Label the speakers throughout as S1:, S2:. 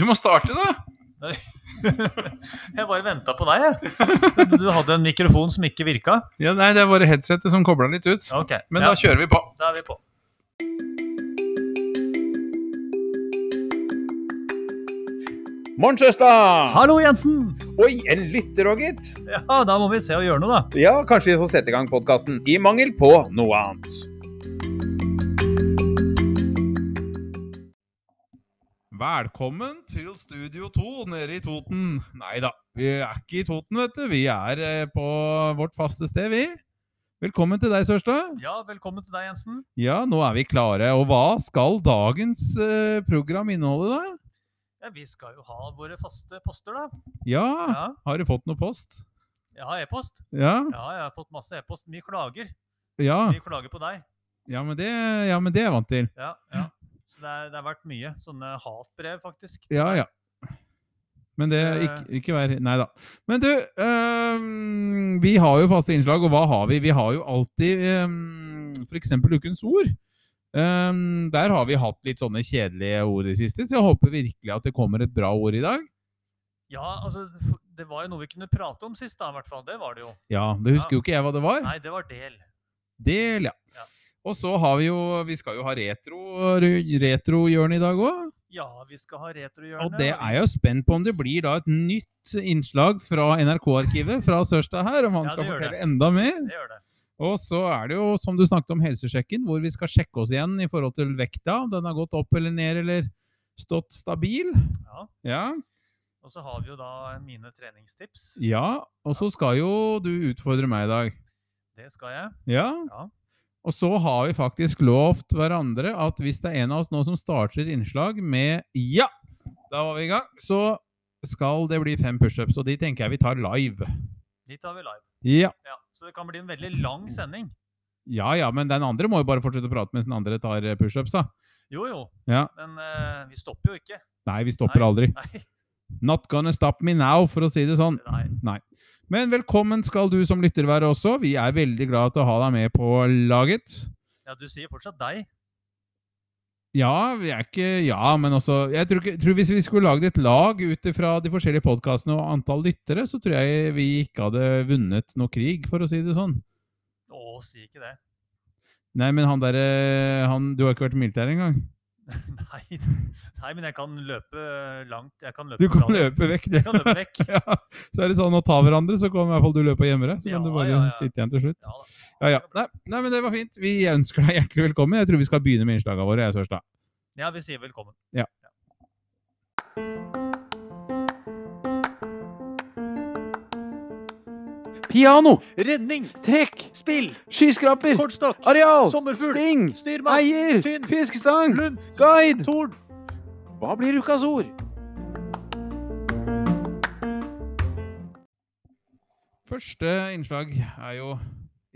S1: Du må starte, da!
S2: Jeg bare venta på deg, jeg. Du hadde en mikrofon som ikke virka.
S1: Ja, nei, det er bare headsetet som kobler den litt ut.
S2: Ok,
S1: Men
S2: ja,
S1: da kjører vi på.
S2: da er vi på.
S3: Morn, søster!
S2: Hallo, Jensen!
S3: Oi, en lytter òg, gitt.
S2: Ja, da må vi se og gjøre noe, da.
S3: Ja, kanskje vi får sette i gang podkasten i mangel på noe annet.
S1: Velkommen til Studio 2 nede i Toten. Nei da, vi er ikke i Toten, vet du. Vi er eh, på vårt faste sted, vi. Velkommen til deg, Sørstad.
S2: Ja, velkommen til deg, Jensen.
S1: Ja, nå er vi klare. Og hva skal dagens eh, program inneholde, da?
S2: Ja, vi skal jo ha våre faste poster, da.
S1: Ja,
S2: Ja,
S1: har du fått noe post?
S2: jeg har e-post.
S1: Ja,
S2: Ja, jeg har fått masse e-post. Mye klager.
S1: ja.
S2: Mye klager på deg.
S1: Ja, men det, ja, men det er jeg vant til.
S2: Ja, ja. Så det, er, det har vært mye sånne hatbrev, faktisk.
S1: Ja, ja. Men det
S2: Eh.
S1: ikke, ikke vær Nei da. Men du, øhm, vi har jo faste innslag, og hva har vi? Vi har jo alltid øhm, for f.eks. Ukens ord. Øhm, der har vi hatt litt sånne kjedelige ord i det siste, så jeg håper virkelig at det kommer et bra ord i dag.
S2: Ja, altså, f- det var jo noe vi kunne prate om sist, da, i hvert fall. Det var det jo.
S1: Ja, det husker jo ikke jeg hva det var.
S2: Nei, det var del.
S1: Del,
S2: Ja.
S1: ja. Og så har vi jo Vi skal jo ha retro- retrohjørnet i dag òg.
S2: Ja, vi skal ha retrohjørne.
S1: Og det er jeg jo spent på om det blir da et nytt innslag fra NRK-arkivet fra Sørstad her, om han
S2: Ja, det
S1: skal
S2: gjør det.
S1: fortelle enda mer.
S2: Det gjør det.
S1: Og så er det jo, som du snakket om, helsesjekken, hvor vi skal sjekke oss igjen i forhold til vekta. Om den har gått opp eller ned, eller stått stabil.
S2: Ja.
S1: Ja.
S2: Og så har vi jo da mine treningstips.
S1: ja. Og så skal jo du utfordre meg i dag.
S2: Det skal jeg.
S1: Ja.
S2: Ja.
S1: Og så har vi faktisk lovt hverandre at hvis det er en av oss nå som starter et innslag med Ja! Da var vi i gang. Så skal det bli fem pushups, og de tenker jeg vi tar live.
S2: De tar vi live.
S1: Ja.
S2: Ja, så det kan bli en veldig lang sending.
S1: Ja, ja, men den andre må jo bare fortsette å prate mens den andre tar eh, pushups, da.
S2: Jo, jo.
S1: Ja.
S2: Men eh, vi stopper jo ikke.
S1: Nei, vi stopper aldri.
S2: Nei.
S1: Not gonna stop me now, for å si det sånn.
S2: Nei.
S1: Nei. Men velkommen skal du som lytter være også. Vi er veldig glad til å ha deg med på laget.
S2: Ja, du sier fortsatt deg.
S1: Ja, vi er ikke Ja, men også Jeg tror, ikke, tror hvis vi skulle lagd et lag ut fra de forskjellige podkastene og antall lyttere, så tror jeg vi ikke hadde vunnet noe krig, for å si det sånn.
S2: Å, si ikke det.
S1: Nei, men han derre Han Du har ikke vært i militæret engang?
S2: Nei. Nei, men jeg kan løpe langt. Jeg kan løpe
S1: Du
S2: fra
S1: kan
S2: det.
S1: løpe vekk, du.
S2: Jeg kan løpe vekk.
S1: ja, så er det sånn å ta hverandre, så kan i hvert fall du løpe og gjemme deg. Så kan
S2: Ja,
S1: du bare
S2: ja, ja.
S1: sitte igjen til slutt.
S2: Ja da.
S1: Ja, ja. Nei, nei, men det var fint. Vi ønsker deg hjertelig velkommen. Jeg tror vi skal begynne med innslagene våre. Jeg, Sørstad.
S2: Ja, vi sier velkommen.
S3: Piano,
S2: Redning,
S3: trekk,
S2: spill,
S3: skyskraper,
S2: kortstokk,
S3: areal,
S2: sommerfugl,
S3: sting,
S2: styrmann,
S3: eier,
S2: tynn,
S3: fiskestang,
S2: lund,
S3: guide.
S2: torn.
S3: Hva blir ukas ord?
S1: Første innslag er jo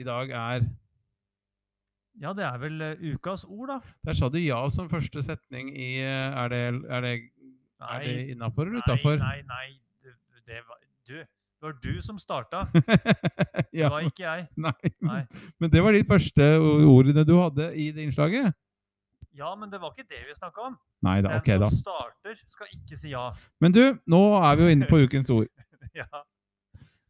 S1: i dag er
S2: Ja, det er vel eh, ukas ord, da.
S1: Der sa du ja som første setning i eh, Er det, er det, er det
S2: Nei,
S1: innafor eller
S2: nei,
S1: utafor?
S2: nei. nei. Det, det, var, du, det var du som starta, det
S1: ja,
S2: var ikke jeg.
S1: nei.
S2: Nei.
S1: Men det var de første o- ordene du hadde i det innslaget?
S2: Ja, men det var ikke det vi snakka om.
S1: Nei da,
S2: Den
S1: ok, da.
S2: som starter, skal ikke si ja.
S1: Men du, nå er vi jo inne på ukens ord.
S2: ja.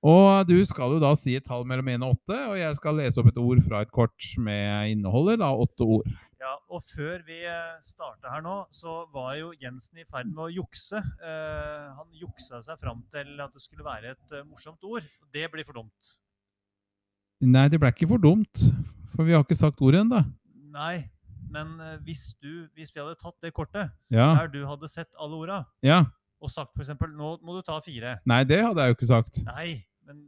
S1: Og du skal jo da si et tall mellom 1 og 8, og jeg skal lese opp et ord fra et kort med inneholder da åtte ord.
S2: Ja, og før vi starta her nå, så var jo Jensen i ferd med å jukse. Eh, han juksa seg fram til at det skulle være et eh, morsomt ord. Det blir for dumt.
S1: Nei, det ble ikke for dumt, for vi har ikke sagt ordet ennå.
S2: Nei, men eh, hvis, du, hvis vi hadde tatt det kortet,
S1: Ja,
S2: der du hadde sett alle orda,
S1: ja.
S2: og sagt f.eks.: Nå må du ta fire.
S1: Nei, det hadde jeg jo ikke sagt.
S2: Nei, men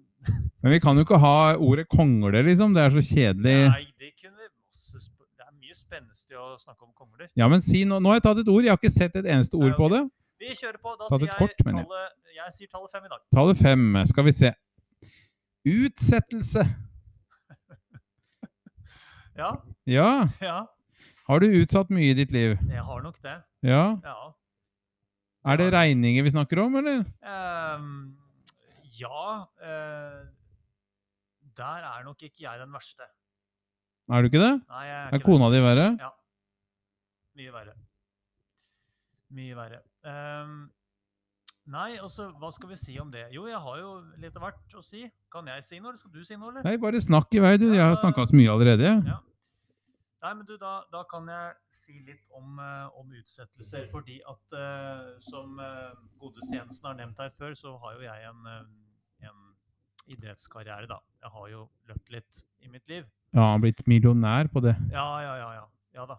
S1: Men vi kan jo ikke ha ordet kongle, liksom. Det er så kjedelig.
S2: nei, det kunne vi masse sp Det er mye spennende å snakke om kongler.
S1: Ja, men si nå. Nå har jeg tatt et ord. Jeg har ikke sett et eneste ord
S2: Nei,
S1: på
S2: ok.
S1: det.
S2: Vi kjører på. Da
S1: Ta
S2: sier
S1: det
S2: jeg,
S1: kort, mener jeg.
S2: tallet, jeg sier tallet fem i dag.
S1: Tallet fem. Skal vi se. Utsettelse.
S2: Ja,
S1: Ja.
S2: ja.
S1: Har du utsatt mye i ditt liv?
S2: Jeg har nok det.
S1: Ja.
S2: Ja.
S1: Er det regninger vi snakker om, eller?
S2: Ehm, ja eh, Der er nok ikke jeg den verste.
S1: Er du ikke det?
S2: Nei, jeg er
S1: Er
S2: ikke det.
S1: kona di verre?
S2: Mye verre. Mye verre. Ehm, nei, altså, hva skal vi si om det? Jo, jeg har jo litt av hvert å si. Kan jeg si noe, eller skal du si noe, eller?
S1: Nei, bare snakk i vei, du. Jeg har snakka så mye allerede.
S2: Ja. Nei, men du, da, da kan jeg si litt om, eh, om utsettelser. Fordi at eh, som uh, godeste Jensen har nevnt her før, så har jo jeg en, eh, en idrettskarriere, da. Jeg har jo løpt litt i mitt liv.
S1: Ja, han har blitt millionær på det.
S2: Ja, ja, ja. Ja, ja da.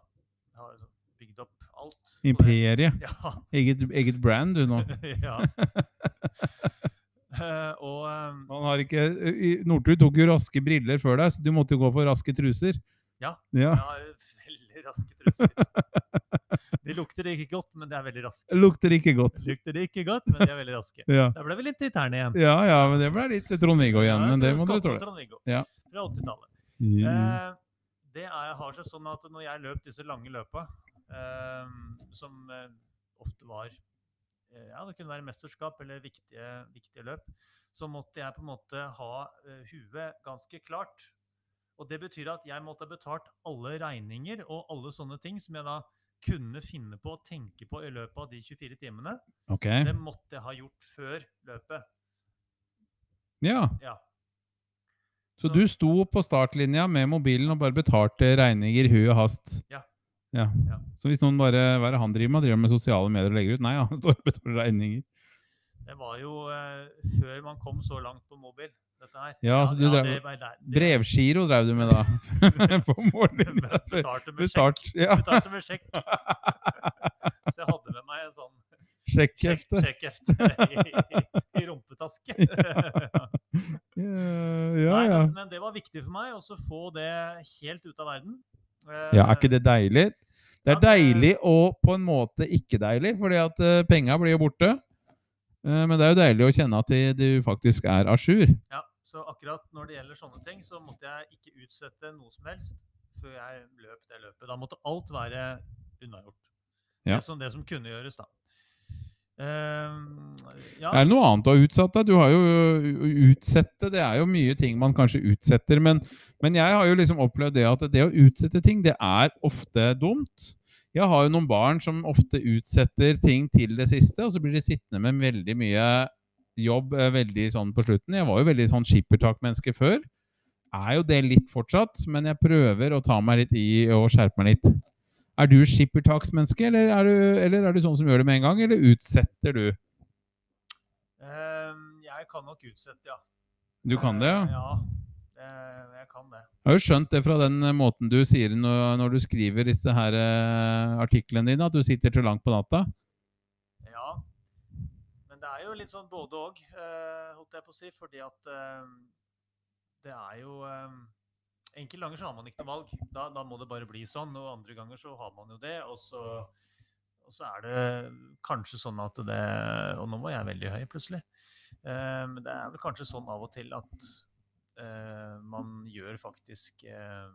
S2: Jeg har jo bygd opp alt. på det.
S1: Imperiet.
S2: Ja,
S1: Eget, eget brand, du, nå.
S2: ja. Eh, og eh,
S1: Han har ikke i- Northug tok jo raske briller før deg, så du måtte jo gå for raske truser.
S2: Ja.
S1: ja.
S2: jeg har veldig raske truser. De lukter ikke godt, men de er veldig raske.
S1: Lukter ikke godt.
S2: Lukter de ikke godt, men de er veldig raske.
S1: Ja.
S2: Da ble vi litt i tærne igjen.
S1: ja, ja, men det ble litt Trond-Viggo igjen.
S2: Ja,
S1: Men det må
S2: Trond-
S1: du tåle.
S2: Trond-Viggo
S1: Ja.
S2: Fra 80-tallet.
S1: Mm.
S2: Eh, det er, har seg sånn at når jeg løp disse lange løpa, eh, som eh, ofte var eh, Ja, det kunne være mesterskap eller viktige, viktige løp, så måtte jeg på en måte ha eh, huet ganske klart. Og det betyr at jeg måtte ha betalt alle regninger og alle sånne ting som jeg da kunne finne på å tenke på i løpet av de 24 timene.
S1: Ok.
S2: Det måtte jeg ha gjort før løpet.
S1: Ja.
S2: Ja.
S1: Så du sto på startlinja med mobilen og bare betalte regninger i huet og hast?
S2: Ja.
S1: Ja.
S2: Ja.
S1: Så hvis noen bare Hva er det han driver med? Driver han med sosiale medier og legger ut? Nei, han står og betaler regninger.
S2: Det var jo eh, før man kom så langt på mobil, dette her.
S1: Ja, så du drev-
S2: det var der- det-
S1: Brevgiro drev du med da? på morgenlinja. før-
S2: Betalte med sjekk.
S1: Betalt. Ja.
S2: Betalte med sjekk. Så jeg hadde med meg en sånn sjekk-
S1: Sjekkhefte.
S2: sjekkhefte i, i rumpetaske.
S1: Ja,
S2: Nei,
S1: ja.
S2: men, men det var viktig for meg også å få det helt ut av verden. Eh,
S1: Ja, er ikke det deilig? Det
S2: Ja,
S1: er
S2: det-
S1: deilig og på en måte ikke deilig, fordi at eh, penga blir jo borte. Eh, Men det er jo deilig å kjenne at de- du faktisk er à jour.
S2: Ja, så akkurat når det gjelder sånne ting, så måtte jeg ikke utsette noe som helst før jeg løp det løpet. Da måtte alt være unnagjort.
S1: Ja.
S2: Det som det som kunne gjøres, da. Ehm, ja,
S1: Er det noe annet du har utsatt deg? Du har jo ø, utsette, det er jo mye ting man kanskje utsetter, men, men jeg har jo liksom opplevd det at det å utsette ting, det er ofte dumt. Jeg har jo noen barn som ofte utsetter ting til det siste, og så blir de sittende med veldig mye jobb eh, veldig sånn på slutten. Jeg var jo veldig sånn skippertakmenneske før. Er jo det litt fortsatt, men jeg prøver å ta meg litt i og skjerpe meg litt. Er du skippertaksmenneske, eller er du, eller er du sånn som gjør det med en gang, eller utsetter du?
S2: ehm, jeg kan nok utsette, ja.
S1: Du kan det, ja?
S2: Eh, Ja, eh, jeg kan det.
S1: Jeg har jo skjønt det fra den eh, måten du sier når, når du skriver disse her eh, artiklene dine, at du sitter til langt på natta.
S2: Ja. Men det er jo litt sånn både òg, holdt jeg på å si, fordi at eh, det er jo eh, Enkelte ganger så har man ikke noe valg. Da, da må det bare bli sånn. Og andre ganger så har man jo det, og så, og så er det kanskje sånn at det Og nå var jeg veldig høy, plutselig. Eh, Men det er vel kanskje sånn av og til at eh, man gjør faktisk eh,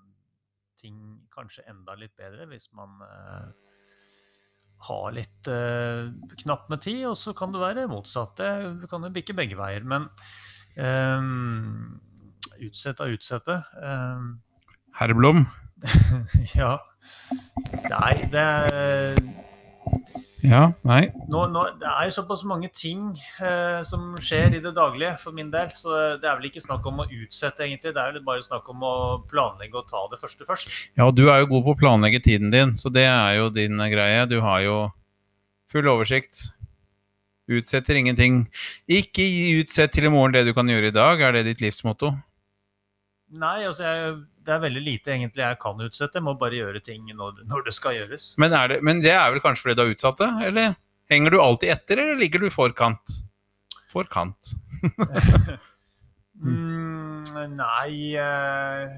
S2: ting kanskje enda litt bedre hvis man eh, har litt eh, knapp med tid, og så kan det være motsatt. Det kan jo bikke begge veier. Men eh, utsette og utsette eh,
S1: Herblom.
S2: ja. Nei, det er,
S1: Ja, nei.
S2: nå, nå, det er såpass mange ting eh, som skjer i det daglige for min del, så det er vel ikke snakk om å utsette, egentlig. Det er vel bare snakk om å planlegge og ta det første først.
S1: Ja, du er jo god på å planlegge tiden din, så det er jo din eh, greie. Du har jo full oversikt. Utsetter ingenting. Ikke gi- utsett til i morgen det du kan gjøre i dag, er det ditt livsmotto?
S2: Nei, altså jeg, det er veldig lite egentlig jeg kan utsette. Jeg må bare gjøre ting når, når det skal gjøres.
S1: Men, er det, men det er vel kanskje fordi du har utsatt det? Eller henger du alltid etter, eller ligger du forkant? Forkant.
S2: Mm, nei eh,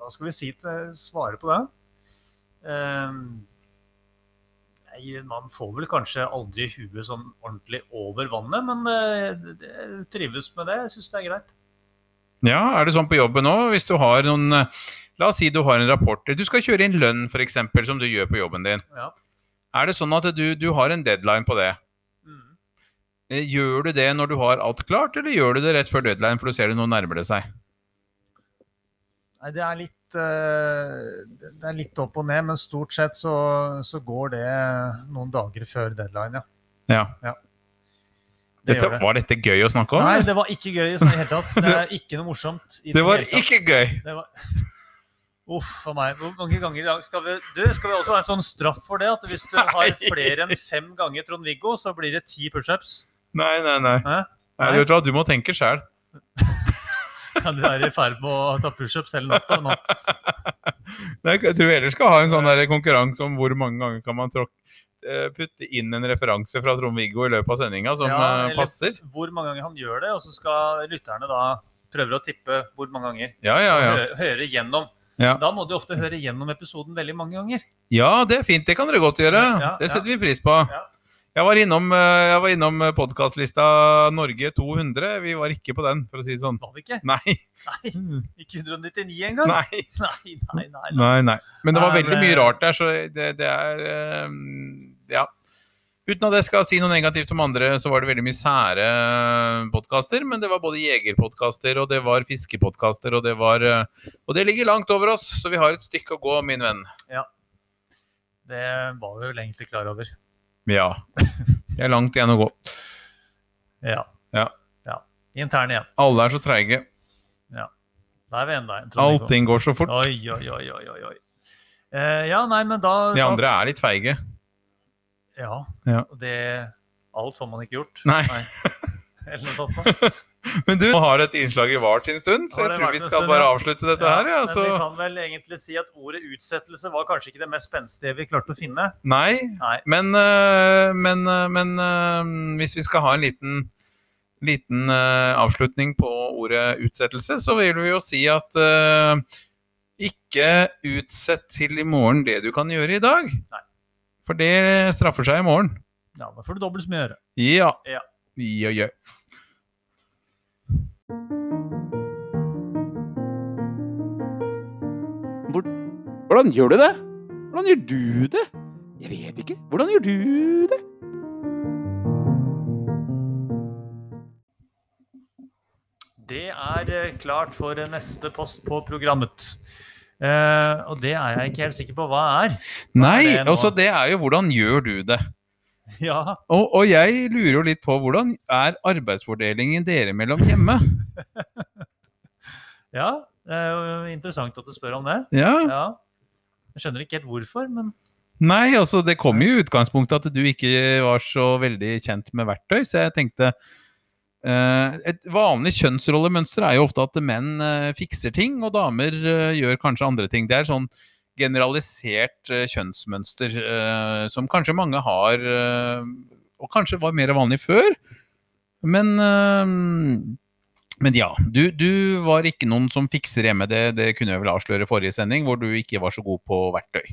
S2: Hva skal vi si til svare på det? Eh, nei, man får vel kanskje aldri huet sånn ordentlig over vannet, men eh, det- det trives med det. Jeg syns det er greit.
S1: Ja, er det sånn på jobben òg? Hvis du har noen eh, La oss si du har en rapport. Du skal kjøre inn lønn, f.eks., som du gjør på jobben din.
S2: Ja.
S1: Er det sånn at du, du har en deadline på det?
S2: Mm.
S1: Eh, Gjør du det når du har alt klart, eller gjør du det rett før deadline, for du ser det nå nærmer det seg?
S2: Nei, det er litt eh, Det det er litt opp og ned, men stort sett så, så går det noen dager før deadline, ja.
S1: Ja.
S2: Ja. Det
S1: Dette,
S2: gjør det.
S1: var dette gøy å snakke om?
S2: Nei,
S1: eller?
S2: det var ikke gøy i sånn i det hele tatt. Det er ikke noe morsomt. i
S1: det var
S2: hele tatt.
S1: ikke gøy!
S2: Det var... Uff for meg. Hvor mange ganger i dag skal vi Du, skal vi også ha en sånn straff for det? At hvis du har
S1: Nei.
S2: flere enn fem ganger Trond-Viggo, så blir det ti pushups?
S1: Nei, nei, nei.
S2: Hæ?
S1: nei.
S2: Nei.
S1: vet Du, hva, du må tenke sjæl.
S2: Ja, du er i ferd med å ta pushups hele natta nå.
S1: Jeg tror vi heller skal ha en sånn der konkurranse om hvor mange ganger kan man tråkke eh, putte inn en referanse fra Trond-Viggo i løpet av sendinga som
S2: Ja,
S1: eh,
S2: eller-
S1: passer.
S2: Hvor mange ganger han gjør det, og så skal lytterne da prøve å tippe hvor mange ganger.
S1: Ja, ja, ja.
S2: Hø høre gjennom.
S1: Ja.
S2: Da må du ofte høre gjennom episoden veldig mange ganger.
S1: Ja, det er fint. Det kan dere godt gjøre.
S2: Ja,
S1: det
S2: ja.
S1: setter vi pris på.
S2: Ja.
S1: Jeg var innom, eh, jeg var innom podkastlista Norge 200. Vi var ikke på den, for å si det sånn.
S2: Var vi ikke?
S1: Nei.
S2: Nei, ikke 199 engang.
S1: Nei.
S2: Nei, nei, nei. nei.
S1: nei, nei. Men det var
S2: Nei,
S1: veldig
S2: men-
S1: mye rart der, så det, det er eh, Ja. Uten at jeg skal si noe negativt om andre, så var det veldig mye sære podkaster. Men det var både jegerpodkaster, og det var fiskepodkaster, og det var eh, Og det ligger langt over oss, så vi har et stykke å gå, min venn.
S2: Det var vi vel egentlig klar over.
S1: Ja. Det er langt igjen å gå.
S2: Ja.
S1: Ja.
S2: ja. Intern igjen.
S1: Alle er så treige.
S2: Da er vi enda en. Trond-Viggo.
S1: Allting går så fort.
S2: Oi, oi, oi, oi, oi. oi. Eh, ja, nei, men da
S1: De andre er litt feige.
S2: Da, ja.
S1: Ja.
S2: Og det Alt får man ikke gjort.
S1: Nei.
S2: Eller noe sånt. da.
S1: Men du nå har dette innslaget vart en stund, så
S2: Har
S1: jeg
S2: det
S1: tror
S2: vart
S1: vi
S2: en
S1: skal
S2: stund,
S1: bare
S2: ja.
S1: avslutte dette her. Ja,
S2: men
S1: så...
S2: vi kan vel egentlig si at ordet utsettelse var kanskje ikke det mest spenstige vi klarte å finne.
S1: Nei,
S2: Nei.
S1: men, øh, men, øh, men øh, hvis vi skal ha en liten, liten øh, avslutning på ordet utsettelse, så vil vi jo si at øh, ikke utsett til i morgen det du kan gjøre i dag.
S2: Nei.
S1: For det straffer seg i morgen.
S2: Ja, Da får du dobbelt så mye å gjøre.
S1: Ja.
S2: Ja.
S1: Ja, ja.
S4: Hvordan gjør du det? Hvordan gjør du det? Jeg vet ikke. Hvordan gjør du det?
S2: Det er eh, klart for eh, neste post på programmet. Eh, og det er jeg ikke helt sikker på hva er.
S1: Nei,
S2: det nå?
S1: altså det er jo hvordan gjør du det?
S2: Ja,
S1: Og, og jeg lurer jo litt på hvordan er arbeidsfordelingen dere mellom hjemme?
S2: ja det er jo interessant at du spør om det.
S1: Ja.
S2: Ja. Jeg skjønner ikke helt hvorfor, men
S1: Nei, altså det kom jo i utgangspunktet at du ikke var så veldig kjent med verktøy, så jeg tenkte eh, Et vanlig kjønnsrollemønster er jo ofte at menn eh, fikser ting, og damer eh, gjør kanskje andre ting. Det er sånn generalisert eh, kjønnsmønster eh, som kanskje mange har, eh, og kanskje var mer vanlig før. Men, eh, men ja, du, du var ikke noen som fikser hjemme, det, det kunne jeg vel avsløre i forrige sending, hvor du ikke var så god på verktøy.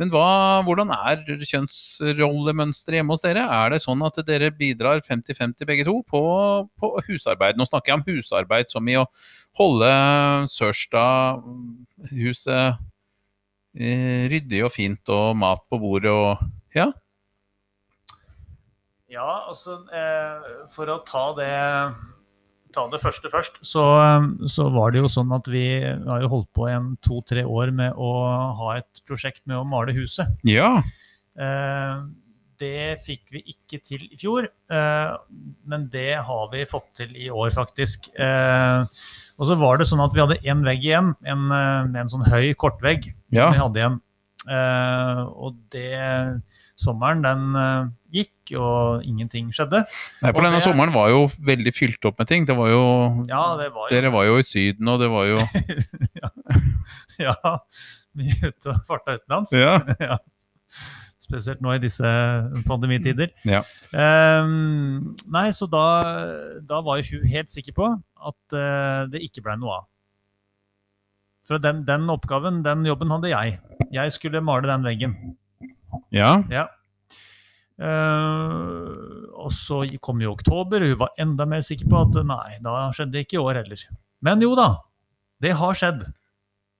S1: Men hva, hvordan er kjønnsrollemønsteret hjemme hos dere? Er det sånn at dere bidrar 50-50 begge to på, på husarbeid? Nå snakker jeg om husarbeid som i å holde Sørstad-huset eh, ryddig og fint og mat på bordet og
S2: ja, altså eh, For å ta det, ta det første først, så, eh, så var det jo sånn at vi har jo holdt på en to-tre år med å ha et prosjekt med å male huset.
S1: Ja.
S2: Eh, Det fikk vi ikke til i fjor, eh, men det har vi fått til i år, faktisk. Eh, Og så var det sånn at vi hadde én vegg igjen, en, eh, en sånn høy kortvegg
S1: Ja.
S2: vi hadde igjen. Eh, Og det Sommeren den eh, gikk, og ingenting skjedde.
S1: Nei, for
S2: Og
S1: denne
S2: det-
S1: sommeren var jo veldig fylt opp med ting. Det var jo
S2: Ja, det var jo
S1: Dere var jo i Syden, og det var jo
S2: ja, mye ute og farta utenlands.
S1: Ja.
S2: ja. Spesielt nå i disse pandemitider.
S1: Mm, Ja.
S2: Ehm, nei, så da, da var jo hun helt sikker på at eh, det ikke ble noe av. For den, den oppgaven, den jobben hadde jeg. Jeg skulle male den veggen.
S1: ja.
S2: Eh, og så kom jo oktober, og hun var enda mer sikker på at nei, da skjedde det ikke i år heller. Men jo da, det har skjedd.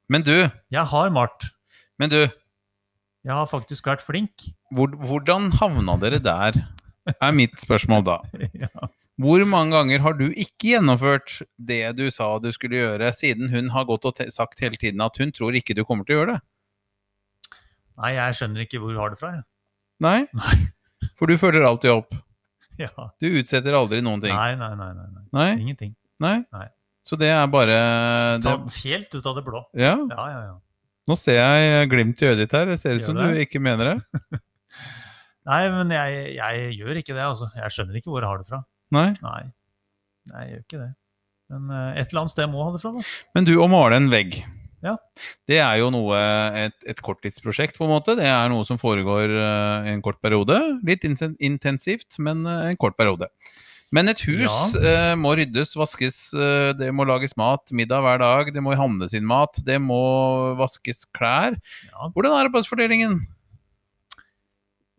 S1: Men du,
S2: Jeg har malt.
S1: men du.
S2: Jeg har faktisk vært flink.
S1: Hvor, hvordan havna dere der, er mitt spørsmål da.
S2: ja.
S1: Hvor mange ganger har du ikke gjennomført det du sa du skulle gjøre, siden hun har gått og te sagt hele tiden at hun tror ikke du kommer til å gjøre det?
S2: Nei, jeg skjønner ikke hvor du har det fra. jeg.
S1: Nei? For du følger alltid opp.
S2: Ja.
S1: Du utsetter aldri noen ting.
S2: Nei, nei, nei, nei, nei.
S1: Nei?
S2: Ingenting.
S1: Nei?
S2: Nei.
S1: Så det er bare det,
S2: Tatt helt ut av det blå.
S1: Ja.
S2: Ja, ja, ja.
S1: Nå ser jeg glimt i øyet ditt her. Det ser ut
S2: Gjør
S1: som
S2: det?
S1: du ikke mener det.
S2: Nei, men jeg, jeg gjør ikke det, altså. Jeg skjønner ikke hvor jeg har det fra.
S1: Nei.
S2: Nei, nei jeg gjør ikke det. Men eh, et eller annet sted må jeg ha det fra, da.
S1: Men du, å male en vegg,
S2: Ja.
S1: det er jo noe et, et korttidsprosjekt, på en måte. Det er noe som foregår eh, en kort periode. Litt insen- intensivt, men eh, en kort periode. Men et hus eh, må ryddes, vaskes, eh, det må lages mat, middag hver dag, det må handles inn mat, det må vaskes klær.
S2: Ja,
S1: Hvordan er arbeidsfordelingen?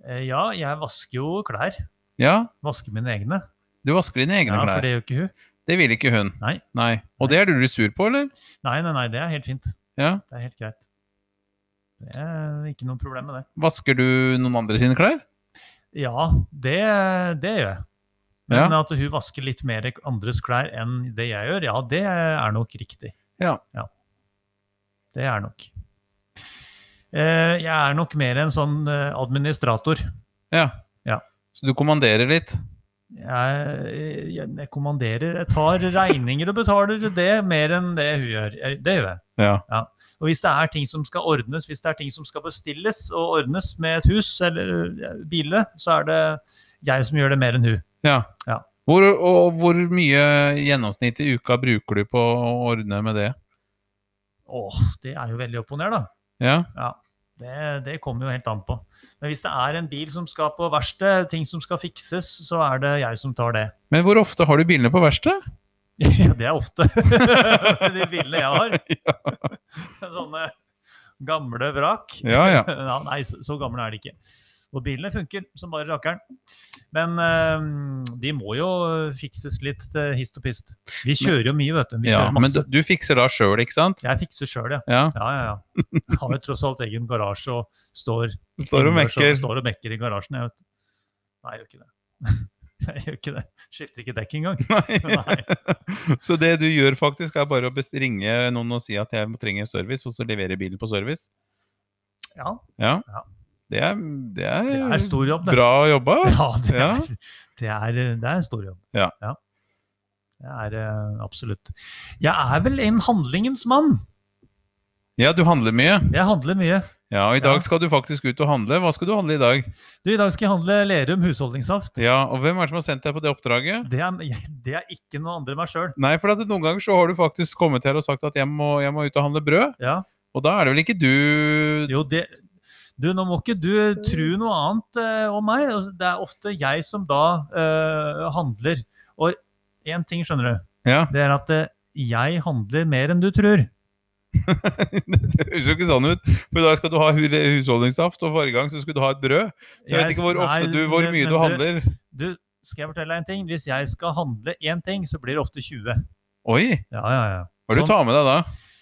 S2: Eh, ja jeg vasker jo klær.
S1: Ja,
S2: Vasker mine egne.
S1: du vasker dine egne
S2: Ja, for
S1: klær.
S2: det gjør ikke hun.
S1: Det vil ikke hun.
S2: Nei.
S1: Og det er du litt sur på, eller?
S2: Nei, nei, nei, det er helt fint.
S1: Ja.
S2: Det er helt greit. Det er ikke noe problem med det.
S1: Vasker du noen andre sine klær?
S2: Ja, det, det gjør jeg. Men at hun vasker litt mer andres klær enn det jeg gjør, ja, det er nok riktig.
S1: Ja.
S2: Det er nok. Eh, Jeg er nok mer en sånn eh, administrator.
S1: Ja.
S2: Ja.
S1: Så du kommanderer litt?
S2: Jeg, jeg, jeg kommanderer, jeg tar regninger og betaler det mer enn det hun gjør. Jeg- Det gjør jeg.
S1: Ja.
S2: Og hvis det er ting som skal ordnes, hvis det er ting som skal bestilles og ordnes med et hus eller eh, biler, så er det jeg som gjør det mer enn hun.
S1: Ja.
S2: Ja.
S1: Hvor, og hvor mye gjennomsnitt i uka bruker du på å ordne med det?
S2: Åh, det er jo veldig opp og ned, da.
S1: Ja,
S2: Det, det kommer jo helt an på. Men hvis det er en bil som skal på verksted, ting som skal fikses, så er det jeg som tar det.
S1: Men hvor ofte har du bilene på verksted?
S2: Ja, det er ofte. De bilene jeg har. Sånne gamle vrak.
S1: Ja, ja.
S2: Ja, nei, så, så gamle er de ikke. Og bilene funker som bare rakkeren. Men eh, de må jo fikses litt til hist og pist. Vi kjører jo mye, vet du. Vi
S1: ja
S2: kjører
S1: men du,
S2: masse.
S1: du fikser da sjøl, ikke sant?
S2: Jeg fikser sjøl, ja.
S1: Ja.
S2: Ja, ja, ja. Jeg har jo tross alt egen garasje og står,
S1: Står og
S2: innendørs
S1: mekker.
S2: står og mekker i garasjen. Jeg vet. Nei, jeg gjør ikke det. Jeg gjør ikke det. Skifter ikke dekk engang. Nei.
S1: Så det du gjør faktisk, er bare å best- ringe noen og si at jeg trenger service, og så levere bilen på service?
S2: Ja,
S1: Ja.
S2: Ja.
S1: Det er, det er,
S2: det er stor jobb, det.
S1: bra jobba.
S2: Ja, det
S1: Ja.
S2: er, det er, det er en stor jobb.
S1: Ja.
S2: Det er eh, absolutt. Jeg er vel en handlingens mann.
S1: Ja, du handler mye.
S2: Jeg handler mye.
S1: Ja, og i dag
S2: Ja.
S1: skal du faktisk ut og handle. Hva skal du handle i dag?
S2: Du, I dag skal jeg handle Lerum husholdningssaft.
S1: Ja, og hvem er det som har sendt deg på det oppdraget?
S2: Det er, det er ikke noe andre enn meg sjøl.
S1: Nei, for at noen ganger så har du faktisk kommet her og sagt at jeg må, jeg må ut og handle brød.
S2: Ja.
S1: Og da er det vel ikke du
S2: Jo, det Du, nå må ikke du tro noe annet eh, om meg. Altså, Det er ofte jeg som da eh, handler. Og én ting skjønner du,
S1: Ja,
S2: det er at eh, jeg handler mer enn du tror.
S1: det høres jo ikke sånn ut. For i dag skal du ha hu- husholdningssaft, og forrige gang så skulle du ha et brød. Så jeg vet ikke hvor ofte
S2: nei,
S1: du, hvor
S2: men-
S1: mye
S2: men
S1: du handler.
S2: Du, skal jeg fortelle deg en ting? Hvis jeg skal handle én ting, så blir det ofte 20.
S1: Oi!
S2: Ja, ja, ja.
S1: Hva er det du tar med deg da?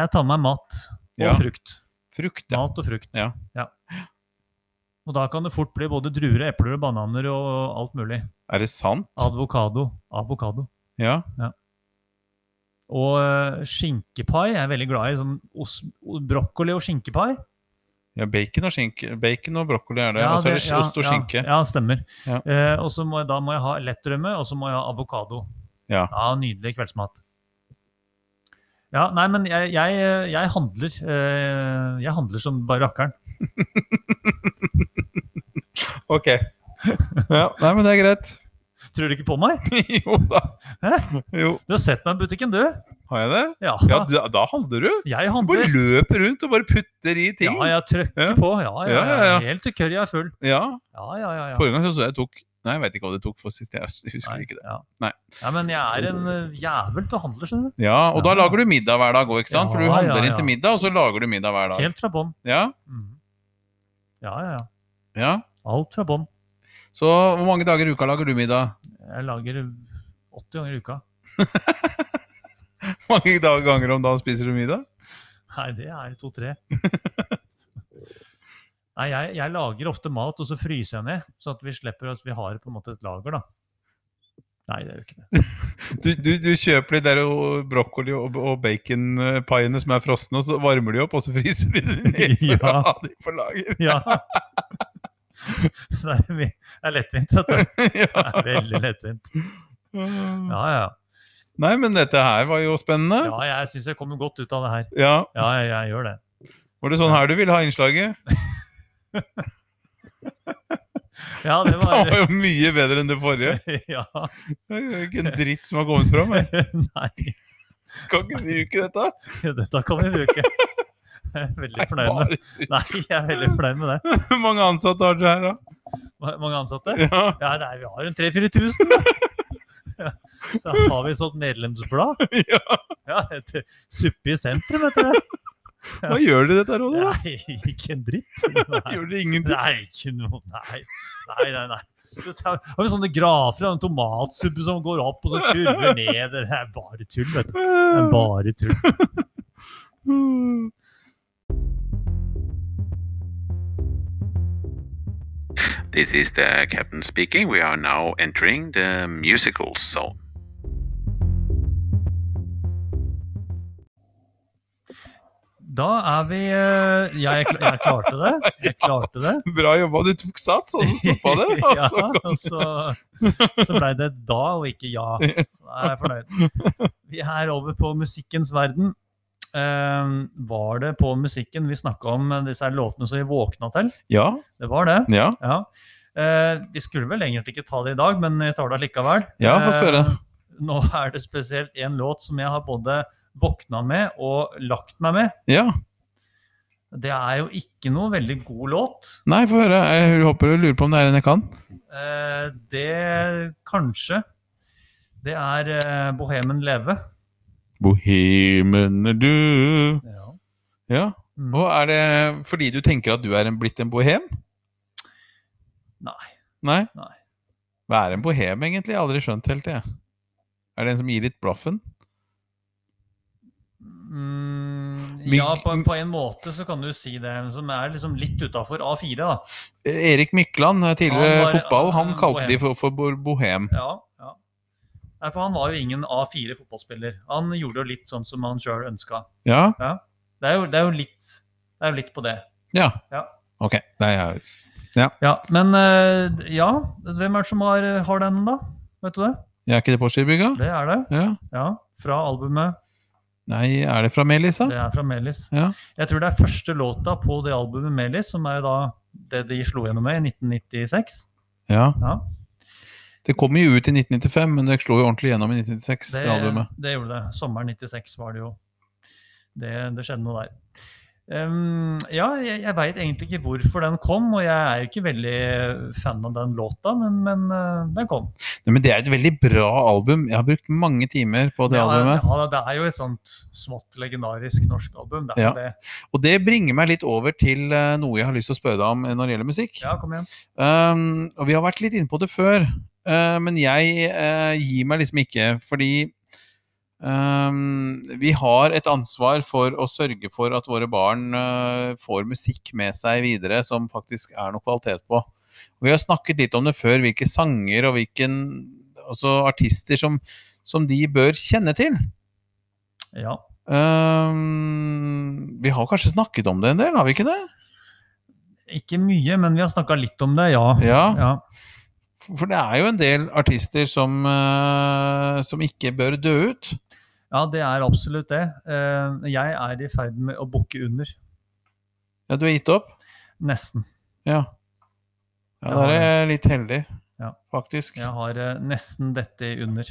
S2: Jeg tar med meg mat og
S1: Ja.
S2: frukt.
S1: Frukt, ja.
S2: Mat og frukt.
S1: Ja.
S2: Og da kan det fort bli både druer, epler og bananer og alt mulig.
S1: Er det sant?
S2: Advokado. Avokado.
S1: Ja.
S2: Og øh, skinkepai. Jeg er veldig glad i sånn ost, brokkoli og skinkepai.
S1: ja bacon, og skinke. bacon og brokkoli er det. og så er det
S2: ja,
S1: ost og
S2: ja,
S1: skinke.
S2: Ja, stemmer.
S1: Ja.
S2: Eh, og så må jeg, da må jeg ha lettrømme, og så må jeg ha avokado.
S1: Ja.
S2: Nydelig kveldsmat. Ja, nei, men jeg, jeg, jeg handler. eh, Jeg handler som bare rakkeren.
S1: Ok. Ja, nei, men det er greit.
S2: Tror du ikke på meg?
S1: jo da. Jo.
S2: Du har sett meg i butikken, du.
S1: Har jeg det?
S2: Ja,
S1: Ja, da, da handler du.
S2: jeg
S1: Du bare
S2: handler.
S1: løper rundt og bare putter i ting.
S2: Ja, jeg trøkker
S1: Ja.
S2: på. Ja, ja,
S1: Ja, ja, ja.
S2: Helt til kørja er full.
S1: ja.
S2: Ja, ja, ja. ja.
S1: Forrige gang så, så jeg tok Nei, jeg vet ikke hva det tok for sist. Jeg husker
S2: Nei,
S1: ikke det.
S2: Ja.
S1: Nei.
S2: ja, men jeg er en eh, jævel til å handle, skjønner du.
S1: Ja, Og da
S2: Ja.
S1: lager du middag hver dag òg, ikke sant? For du
S2: Ja,
S1: handler
S2: ja,
S1: inn til
S2: ja.
S1: middag, og så lager du middag hver dag.
S2: Helt fra bånn.
S1: Ja,
S2: Mhm. Ja, ja, ja.
S1: ja.
S2: Alt fra bånn.
S1: Så hvor mange dager i uka lager du middag?
S2: Jeg lager 80 ganger i uka.
S1: Hvor mange dag- ganger om dagen spiser du middag?
S2: Nei, det er to-tre. Nei, jeg, jeg lager ofte mat, og så fryser jeg ned. Sånn at vi slipper at vi har på en måte et lager, da. Nei, det er jo ikke det.
S1: Du, du, du kjøper de der og brokkoli- og, og baconpaiene som er frosne, og så varmer de opp, og så fryser de dem ned for
S2: Ja.
S1: å ha de på lager.
S2: Ja. Det er, mye- det er lettvint, vet du. Det
S1: ja.
S2: er veldig lettvint. Ja, ja.
S1: Nei, men dette her var jo spennende.
S2: ja jeg syns jeg kommer godt ut av det her.
S1: Ja.
S2: Ja, jeg, jeg gjør det.
S1: Var det sånn her du ville ha innslaget?
S2: Ja, det
S1: Det
S2: var
S1: var jo mye bedre enn det forrige.
S2: Ja.
S1: Det er ikke en dritt som har kommet fram. Jeg
S2: Nei,
S1: kan ikke bruke dette.
S2: dette kan vi bruke. Jeg er veldig
S1: Jeg
S2: fornøyd med
S1: bare syns-
S2: Nei, jeg er veldig fornøyd med det.
S1: Hvor mange ansatte har dere her, da?
S2: Ma- Mange ansatte?
S1: Ja.
S2: Ja, det er, vi har jo en 3000-4000, da. Ja. Så har vi sånt medlemsblad.
S1: ja.
S2: Ja, et Suppe i sentrum, heter det.
S1: Hva gjør dere i dette rådet, da?
S2: Nei, ikke en dritt. Nei.
S1: Gjør dere ingenting?
S2: Nei, ikke noe Nei, nei, nei. nei. Så sa- har vi sånne grafer av en tomatsuppe som går opp og så kurver ned. Det er bare tull, vet du.
S1: Eh.
S2: Det er bare tull.
S5: This is the captain speaking. We are now entering the musical zone.
S2: Da er vi eh, ja, jeg, kla- jeg klarte det. Jeg klarte det.
S1: Bra jobba. Du tok sats, og så stoppa det. altså. og
S2: Ja,
S1: så kom-
S2: og så, så blei det da og ikke ja. Så da er jeg fornøyd. Vi er over på musikkens verden. Eh, var det på musikken vi snakka om disse her låtene som vi våkna til?
S1: Ja.
S2: Det var det.
S1: ja.
S2: Ja. Eh, vi skulle vel egentlig ikke ta det i dag, men jeg tar det likevel. Ehm,
S1: Ja, få spørre.
S2: nå er det spesielt en låt som jeg har både våkna med og lagt meg med.
S1: Ja.
S2: Det er jo ikke noe veldig god låt.
S1: Nei, få høre. Jeg håper du lurer på om det er en jeg kan.
S2: Eh, det kanskje Det er eh, 'Bohemen leve'.
S1: Bohemen er du Ja.
S2: Mm.
S1: Og er det fordi du tenker at du er en, blitt en bohem?
S2: Nei.
S1: Nei?
S2: Nei.
S1: Hva er en bohem, egentlig? Jeg har aldri skjønt helt, jeg. Er det en som gir litt blaffen?
S2: Mm,
S1: Mygg-
S2: ja, på, på en måte så kan du si det, men som er liksom litt utafor A4, da.
S1: Eh, Erik Mykland, tidligere
S2: Han var-
S1: fotball, han
S2: han
S1: kalte
S2: bohem.
S1: de for, for bo- bohem.
S2: Ja, ja. Nei, for han var jo ingen A4-fotballspiller. Han gjorde jo litt sånn som han sjøl ønska.
S1: Ja?
S2: Det er, jo, det, er jo litt, det er jo litt på det.
S1: Ja.
S2: Ja.
S1: Ok. Det er jeg.
S2: Ja, men eh, ja, hvem er det som har, har den, da? Vet du det?
S1: Jeg er ikke det på Skibygga?
S2: Det er det.
S1: Ja.
S2: Ja, Fra albumet.
S1: Nei, er det fra Melissa?
S2: Det er fra Melis.
S1: Ja.
S2: Jeg tror det er første låta på det albumet Melis, som er jo da det de slo gjennom med i 1996.
S1: Ja.
S2: Ja.
S1: Det kom jo ut i 1995, men det slo jo ordentlig gjennom i 1996, det, albumet.
S2: det gjorde det. Sommeren 96 var det jo. Det, det skjedde noe der. Ehm, ja, jeg, jeg veit egentlig ikke hvorfor den kom, og jeg er jo ikke veldig fan av den låta, men, men eh, den kom.
S1: Nei, men det er et veldig bra album. Jeg har brukt mange timer på det
S2: ja,
S1: albumet.
S2: ja, det er jo et sånt smått legendarisk norsk album. Det er
S1: Ja.
S2: jo det.
S1: Og det bringer meg litt over til eh, noe jeg har lyst til å spørre deg om eh, når det gjelder musikk.
S2: Ja, kom igjen.
S1: Um, og vi har vært litt inne på det før, eh, men jeg eh, gir meg liksom ikke, fordi um, vi har et ansvar for å sørge for at våre barn eh, får musikk med seg videre som faktisk er noe kvalitet på. Og vi har snakket litt om det før, hvilke sanger og hvilken altså artister som, som de bør kjenne til.
S2: Ja.
S1: Um, vi har kanskje snakket om det en del, har vi ikke det?
S2: Ikke mye, men vi har snakka litt om det, ja.
S1: Ja.
S2: ja.
S1: For det er jo en del artister som, eh, som ikke bør dø ut.
S2: Ja, det er absolutt det. Eh, Jeg er i ferd med å bukke under.
S1: Ja, du har gitt opp?
S2: Nesten.
S1: Ja. Ja, der er jeg litt heldig,
S2: Ja.
S1: faktisk.
S2: Jeg har eh, nesten dette under.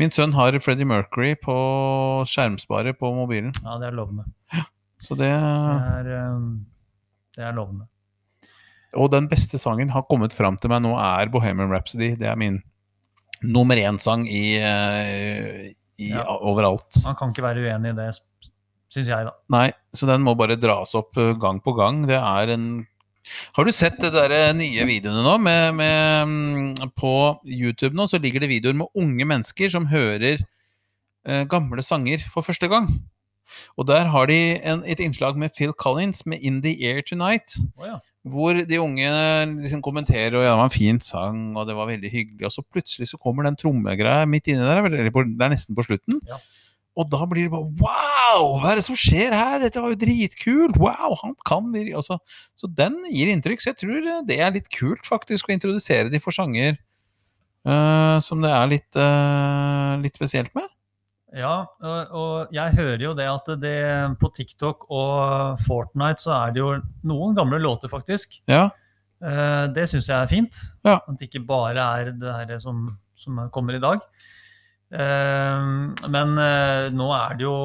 S1: Min sønn har Freddie Mercury på skjermsparet på mobilen,
S2: Ja, det er lovende.
S1: så det
S2: Det er, eh, det er lovende.
S1: Og den beste sangen har kommet fram til meg nå, er Bohemian Rhapsody. Det er min nummer én-sang i, eh, i
S2: Ja.
S1: overalt.
S2: Man kan ikke være uenig i det, syns jeg, da.
S1: Nei, så den må bare dras opp eh, gang på gang. Det er en Har du sett det der eh, nye videoene nå? Med, med, mm, på YouTube nå så ligger det videoer med unge mennesker som hører eh, gamle sanger for første gang. Og der har de en, et innslag med Phil Collins med 'In the Air Tonight'.
S2: Å ja.
S1: Hvor de unge liksom kommenterer og ja, det var en fin sang, og det var veldig hyggelig. Og så plutselig så kommer den trommegreia midt inni der, eller på, det er nesten på slutten.
S2: Ja.
S1: Og da blir det bare wow! Wow, hva er det som skjer her? Dette var jo dritkult! Wow, han kan virkelig altså, Så den gir inntrykk. Så jeg tror eh, det er litt kult, faktisk, å introdusere de for sanger eh, som det er litt, eh, litt spesielt med.
S2: Ja, og, og jeg hører jo det at det på TikTok og Fortnite så er det jo noen gamle låter, faktisk.
S1: Ja.
S2: Eh, det syns jeg er fint.
S1: Ja.
S2: At det ikke bare er det her som, som kommer i dag. Eh, men eh, nå er det jo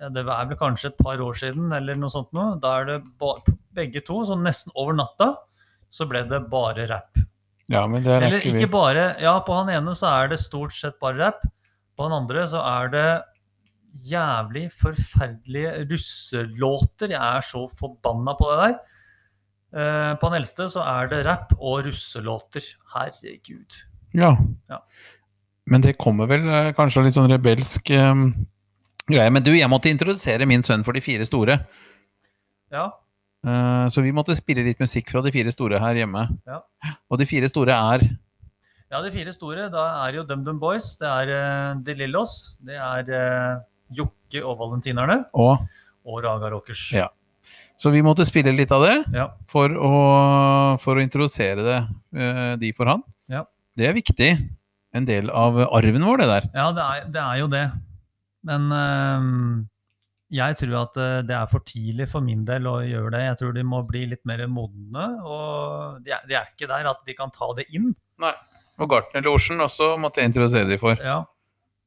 S2: ja, Det er vel kanskje et par år siden, eller noe sånt nå. Da er det ba begge to, sånn nesten over natta, så ble det bare rapp.
S1: Ja, men det
S2: Eller ikke bare Ja, på han ene så er det stort sett bare rap. På han andre så er det jævlig forferdelige russelåter. Jeg er så forbanna på det der. Eh, på han eldste så er det rap og russelåter. Herregud.
S1: Ja.
S2: Ja.
S1: Men det kommer vel eh, kanskje litt sånn rebelsk eh, greie. Men du, jeg måtte introdusere min sønn for de fire store.
S2: Ja.
S1: Eh, så vi måtte spille litt musikk fra de fire store her hjemme.
S2: Ja.
S1: Og de fire store er
S2: ja, de fire store, da er jo DumDum Boys. Det er eh, De Lillos. Det er eh, Jokke og Valentinerne.
S1: og
S2: Og Raga Rockers.
S1: Ja. Så vi måtte spille litt av det
S2: Ja.
S1: for, å, for å introdusere det, eh, de for han.
S2: Ja.
S1: Det er viktig. En del av arven vår, det der.
S2: Ja, det er, det er jo det. Men øhm, jeg tror at øh, det er for tidlig for min del å gjøre det. Jeg tror de må bli litt mer modne. Og de er, de er ikke der at de kan ta det inn.
S1: Og Gartnerlosjen også måtte jeg introdusere de for.
S2: Ja.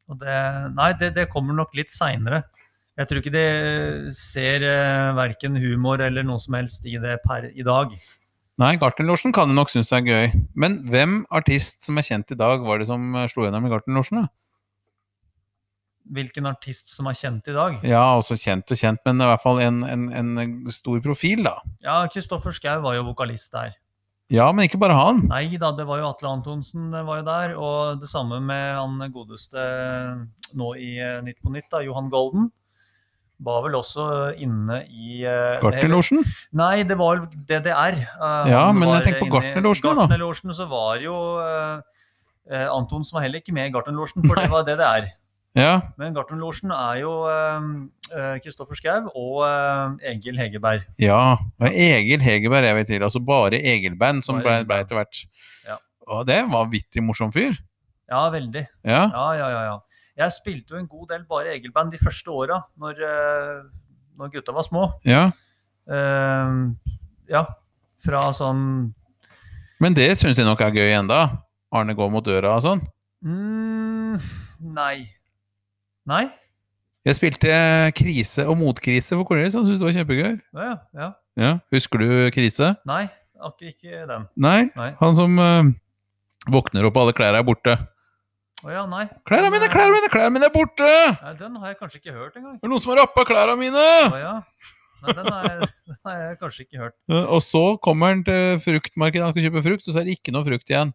S2: Og det, nei, det, det kommer nok litt seinere. Jeg tror ikke de ser uh, verken humor eller noe som helst i det per i dag.
S1: Nei, Gartnerlosjen kan du nok synes er gøy. Men hvem artist som er kjent i dag, var det som eh, slo gjennom i Gartnerlosjen? da?
S2: Hvilken artist som er kjent i dag?
S1: Ja, også kjent og kjent, men i hvert fall en, en, en stor profil, da.
S2: Ja, Kristoffer Schau var jo vokalist der.
S1: Ja, men ikke bare han.
S2: Nei da, det var jo Atle Antonsen eh, var jo der. Og det samme med han godeste eh, nå i eh, Nytt på Nytt, da, Johan Golden. Var vel også inne i eh, det hele-
S1: Gartnerlosjen.
S2: Nei, det var vel DDR. eh,
S1: Ja,
S2: han
S1: men
S2: var
S1: jeg tenker på
S2: inne i-
S1: Gartnerlosjen, da.
S2: Gartnerlosjen, så var jo eh, eh, Antonsen var heller ikke med i Gartnerlosjen, for det var DDR.
S1: Ja.
S2: Men Gartnerlosjen er jo eh, eh, Kristoffer Schau og eh, Egil Hegerberg.
S1: Ja. Det var Egil Hegerberg jeg vet til. Altså bare Egil-band som
S2: Bare
S1: blei
S2: Egil-band.
S1: ble etter hvert.
S2: Ja.
S1: Og det var en vittig morsom fyr.
S2: Ja, veldig.
S1: Ja.
S2: Ja, ja, ja. ja. Jeg spilte jo en god del bare Egil-band de første åra, når, eh, når gutta var små.
S1: ja.
S2: Eh, ja, fra sånn
S1: Men det syns jeg nok er gøy enda. Arne går mot døra og sånn.
S2: mm, Nei. Nei?
S1: Jeg spilte eh, Krise og motkrise for Cornelius, han syntes det var kjempegøy.
S2: Ja, ja, ja.
S1: Ja. Husker du Krise?
S2: Nei, akkurat ikke den.
S1: Nei?
S2: Nei.
S1: Han som eh, våkner opp og alle klærne er borte.
S2: Å ja, nei.
S1: 'Klærne mine, klærne mine, klærne mine er borte!'
S2: Nei, den har jeg kanskje ikke hørt engang.
S1: 'Det er noen som har rappa klærne
S2: Å
S1: mine!'
S2: ja. Nei, den har, jeg, den har jeg kanskje ikke hørt.
S1: Eh, Og så kommer han til fruktmarkedet, han skal kjøpe frukt, og så er det ikke noe frukt igjen.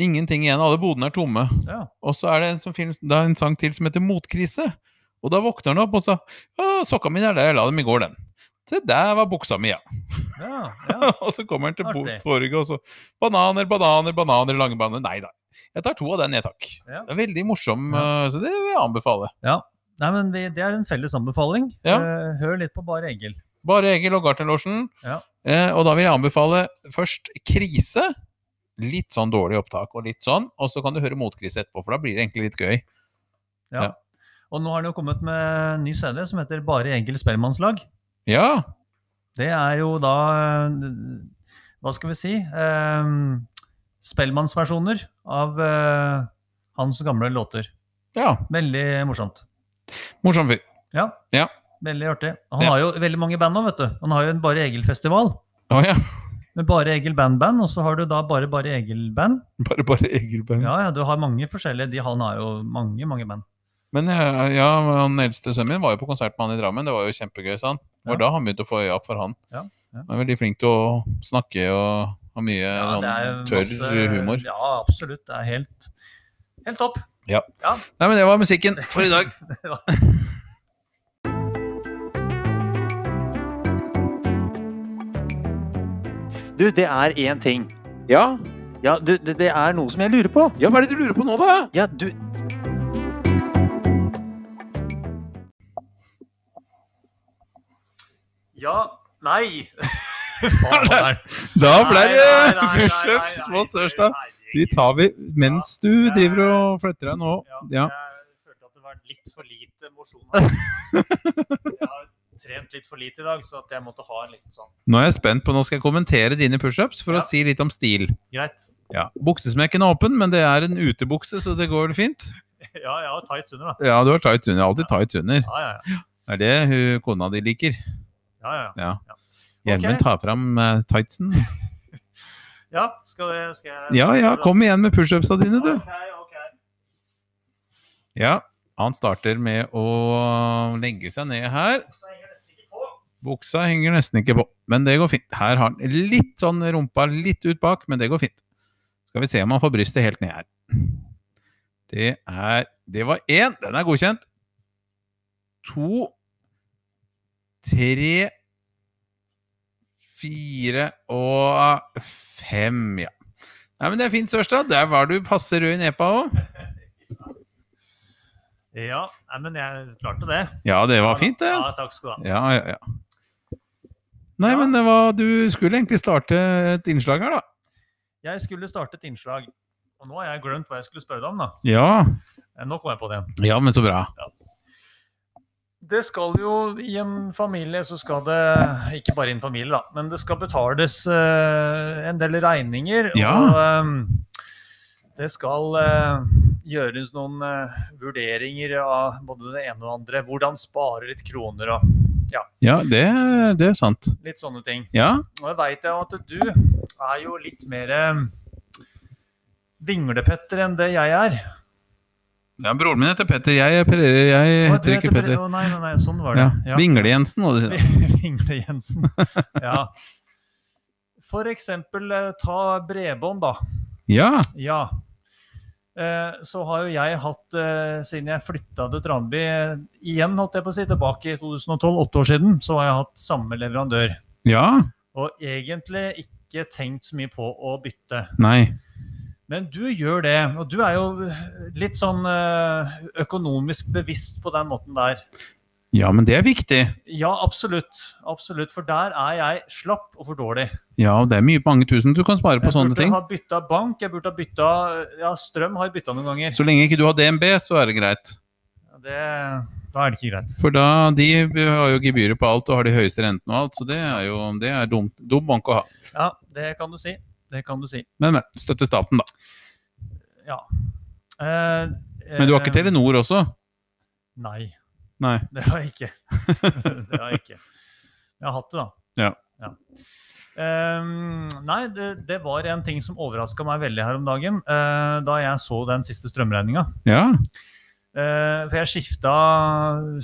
S1: Ingenting igjen. Alle bodene er tomme.
S2: Ja.
S1: Og så er det en, som film, det er en sang til som heter Motkrise. Og da våkner han opp og sa Å, sokka mine er der, jeg la dem i går, den. Se, der var buksa mi, ja.
S2: Ja, ja.
S1: og så kommer han til bo-
S2: Artig.
S1: torget, og så Bananer, bananer, bananer, lange bananer. Nei da. Jeg tar to av den, jeg, takk.
S2: Ja.
S1: Det er veldig morsom,
S2: Ja.
S1: eh, så det vil jeg anbefale.
S2: Nei, men vi, Det er en felles anbefaling.
S1: Ja.
S2: Eh, Hør litt på Bare Egil.
S1: Bare Egil og Gartnerlosjen.
S2: Ja.
S1: Eh, og da vil jeg anbefale først Krise. Litt sånn dårlig opptak og litt sånn, og så kan du høre Motkrise etterpå, for da blir det egentlig litt gøy.
S2: Ja.
S1: Ja.
S2: Og nå har han jo kommet med ny CD som heter Bare Egil Spellemannslag.
S1: Ja,
S2: Det er jo da eh, Hva skal vi si? Eh, Spellemannsversjoner av eh, hans gamle låter.
S1: ja.
S2: Veldig morsomt.
S1: Morsom fyr.
S2: Ja.
S1: Ja.
S2: Veldig artig. Han
S1: Ja.
S2: har jo veldig mange band nå, vet du. Han har jo en Bare Egil-festival
S1: Å ja.
S2: med Bare Egil Band-band, og så har du da bare Bare Egil-band.
S1: Bare, bare Egil-band.
S2: Ja, ja, du har mange forskjellige. De, han har jo mange, mange band.
S1: Men eh, ja, han eldste sønnen min var jo på konsert med han i Drammen. Det var jo kjempegøy, sa han. Det var
S2: Ja.
S1: da han begynte å få øya opp for han.
S2: Ja, ja.
S1: Han er veldig flink til å snakke og ha mye
S2: Ja, det er
S1: sånn
S2: jo
S1: tørr
S2: masse-
S1: humor.
S2: Ja, absolutt. Det er helt, helt topp.
S1: Nei, men det var musikken for i dag.
S4: Du, det er én ting.
S3: Ja,
S4: Ja, du, det, det er noe som jeg lurer på.
S3: ja hva er det du lurer på nå, da?
S4: Ja, du
S2: Ja Nei! Faen, hva er det?
S1: Da ble
S2: Nei,
S1: det
S2: nei, nei, nei,
S1: pushups
S2: nei,
S1: på
S2: nei,
S1: Sørstad.
S2: herregud.
S1: De tar vi mens du
S2: Ja.
S1: driver og flytter deg nå.
S2: Ja,
S1: Ja.
S2: jeg følte at det var litt for lite mosjon. Jeg har trent litt for lite i dag, så at jeg måtte ha en liten sånn.
S1: Nå er jeg spent på, nå skal jeg kommentere dine pushups for
S2: Ja.
S1: å si litt om stil.
S2: Greit.
S1: Ja. Buksesmekken er åpen, men det er en utebukse, så det går vel fint.
S2: Ja, jeg har tights under, da.
S1: Ja, du har tights under. Alltid tights under.
S2: Ja, ja, ja.
S1: Det er det hun, kona di liker.
S2: ja, ja, ja.
S1: Ja.
S2: Ja.
S1: Gjermund
S2: Ok.
S1: tar fram eh, tightsen.
S2: ja skal, jeg- skal jeg
S1: Ja, ja, kom igjen med pushupsa dine, du.
S2: Ok, ok.
S1: Ja, han starter med å legge seg ned her.
S2: Så henger jeg nesten ikke på.
S1: Buksa henger nesten ikke på, men det går fint. Her har han litt sånn rumpa litt ut bak, men det går fint. Skal vi se om han får brystet helt ned her. Det er Det var én. Den er godkjent. To Tre Fire og fem, ja. Nei, men Det er fint, Sørstad. Der var du passe rød i nepa òg.
S2: Ja, nei, men jeg klarte det.
S1: Ja, det var fint, det.
S2: Ja, takk skal du ha.
S1: Ja, ja, ja. Nei,
S2: Ja.
S1: men det var, du skulle egentlig starte et innslag her, da.
S2: Jeg skulle starte et innslag, og nå har jeg glemt hva jeg skulle spørre deg om, da.
S1: Ja.
S2: Eh, Nå kom jeg på det igjen.
S1: ja, men så bra.
S2: Det skal jo i en familie, så skal det ikke bare i en familie, da, men det skal betales eh, en del regninger.
S1: Ja.
S2: Og eh, det skal eh, gjøres noen eh, vurderinger av både det ene og det andre. Hvordan spare litt kroner og
S1: Ja, det, det er sant.
S2: litt sånne ting.
S1: Ja.
S2: Og jeg veit jo at du er jo litt mer eh, vinglepetter enn det jeg er.
S1: ja broren min heter Petter. Jeg, jeg,
S2: Å,
S1: jeg
S2: du
S1: heter ikke
S2: heter-
S1: Petter.
S2: Å, nei, nei, nei, sånn var det.
S1: Ja.
S2: Ja.
S1: Vingle-Jensen, må du si.
S2: Vingle-Jensen. Ja. For eksempel eh, ta bredbånd, da.
S1: Ja.
S2: Ja. Eh, Så har jo jeg hatt, eh, siden jeg flytta til Tranby eh, igjen, holdt jeg på å si, tilbake i 2012, åtte år siden, så har jeg hatt samme leverandør.
S1: Ja.
S2: Og egentlig ikke tenkt så mye på å bytte.
S1: Nei.
S2: Men du gjør det, og du er jo litt sånn eh, økonomisk bevisst på den måten der.
S1: Ja, men det er viktig.
S2: Ja, absolutt. Absolutt. For der er jeg slapp og for dårlig.
S1: Ja, og det er mye mange tusen du kan spare på sånne ting.
S2: Jeg burde ha bytta bank, jeg burde ha bytta Ja, strøm har jeg bytta noen ganger.
S1: Så lenge ikke du har DNB, så er det greit.
S2: Ja, Det, da er det ikke greit.
S1: For da, de har jo gebyrer på alt og har de høyeste rentene og alt, så det er jo det er dumt, dum bank å ha.
S2: Ja, det kan du si. Det kan du si.
S1: Men, men støtte staten, da.
S2: Ja. Eh,
S1: Men du har
S2: eh,
S1: ikke Telenor også?
S2: Nei,
S1: Nei.
S2: det har jeg ikke. det har jeg ikke. Jeg har hatt det, da.
S1: Ja.
S2: Ehm, nei, det, det var en ting som overraska meg veldig her om dagen, eh, da jeg så den siste strømregninga.
S1: Ja.
S2: Eh, for jeg skifta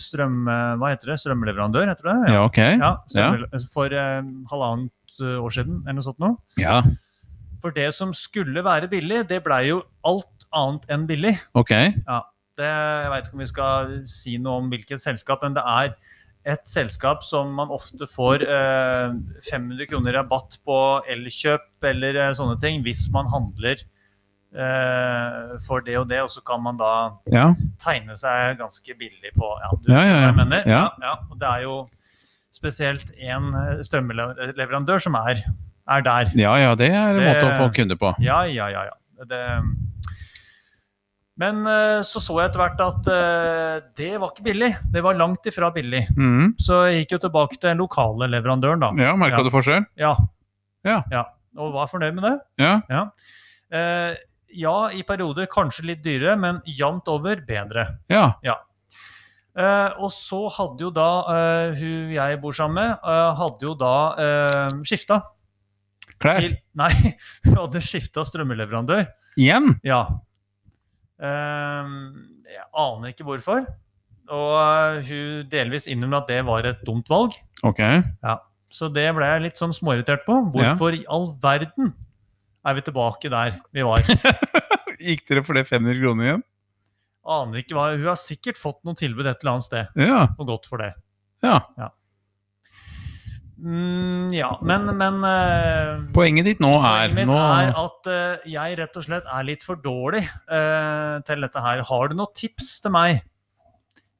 S2: strøm... eh, Hva heter det? Strømleverandør, heter det?
S1: Ja, ok.
S2: Ja, stemmer. For eh, halvannet eh, år siden, eller noe sånt nå.
S1: Ja.
S2: For det som skulle være billig, det blei jo alt annet enn billig.
S1: Ok.
S2: Det, jeg veit ikke om vi skal si noe om hvilket selskap, men det er et selskap som man ofte får eh, 500 kroner rabatt på elkjøp eller eh, sånne ting, hvis man handler eh, for det og det, og så kan man da
S1: Ja.
S2: tegne seg ganske billig på ja, du,
S1: Ja, ja,
S2: skjønner hva Jeg
S1: ja.
S2: mener.
S1: Ja.
S2: Ja, og det er jo spesielt én strømleverandør som er, er der.
S1: Ja, ja, det er en
S2: Det-
S1: måte å få kunder på.
S2: Ja, ja, ja. ja. Det, men eh, så så jeg etter hvert at eh, det var ikke billig. Det var langt ifra billig.
S1: Mhm.
S2: Så jeg gikk jo tilbake til den lokale leverandøren, da.
S1: Ja,
S2: Ja.
S1: merka du forskjell?
S2: Ja.
S1: Ja.
S2: Og var fornøyd med det.
S1: Ja.
S2: Eh, ja, i perioder kanskje litt dyrere, men jevnt over bedre.
S1: ja.
S2: Eh, og så hadde jo da eh, hun jeg bor sammen med, eh, hadde jo da eh, skifta
S1: Klær.
S2: til Nei, hun hadde skifta strømmeleverandør.
S1: Igjen?
S2: Ja. Eh, jeg aner ikke hvorfor. Og eh, hun delvis innrømmer at det var et dumt valg.
S1: Ok.
S2: Så det ble jeg litt sånn småirritert på. Hvorfor i all verden er vi tilbake der vi var?
S1: Gikk dere for det 500 kroner igjen?
S2: Aner ikke hva Hun har sikkert fått noe tilbud et eller annet sted.
S1: Ja.
S2: Noe godt for det.
S1: ja.
S2: Mm, ja, men, men eh,
S1: Poenget ditt nå er
S2: Poenget mitt
S1: nå,
S2: er at eh, jeg rett og slett er litt for dårlig eh, til dette her. Har du noen tips til meg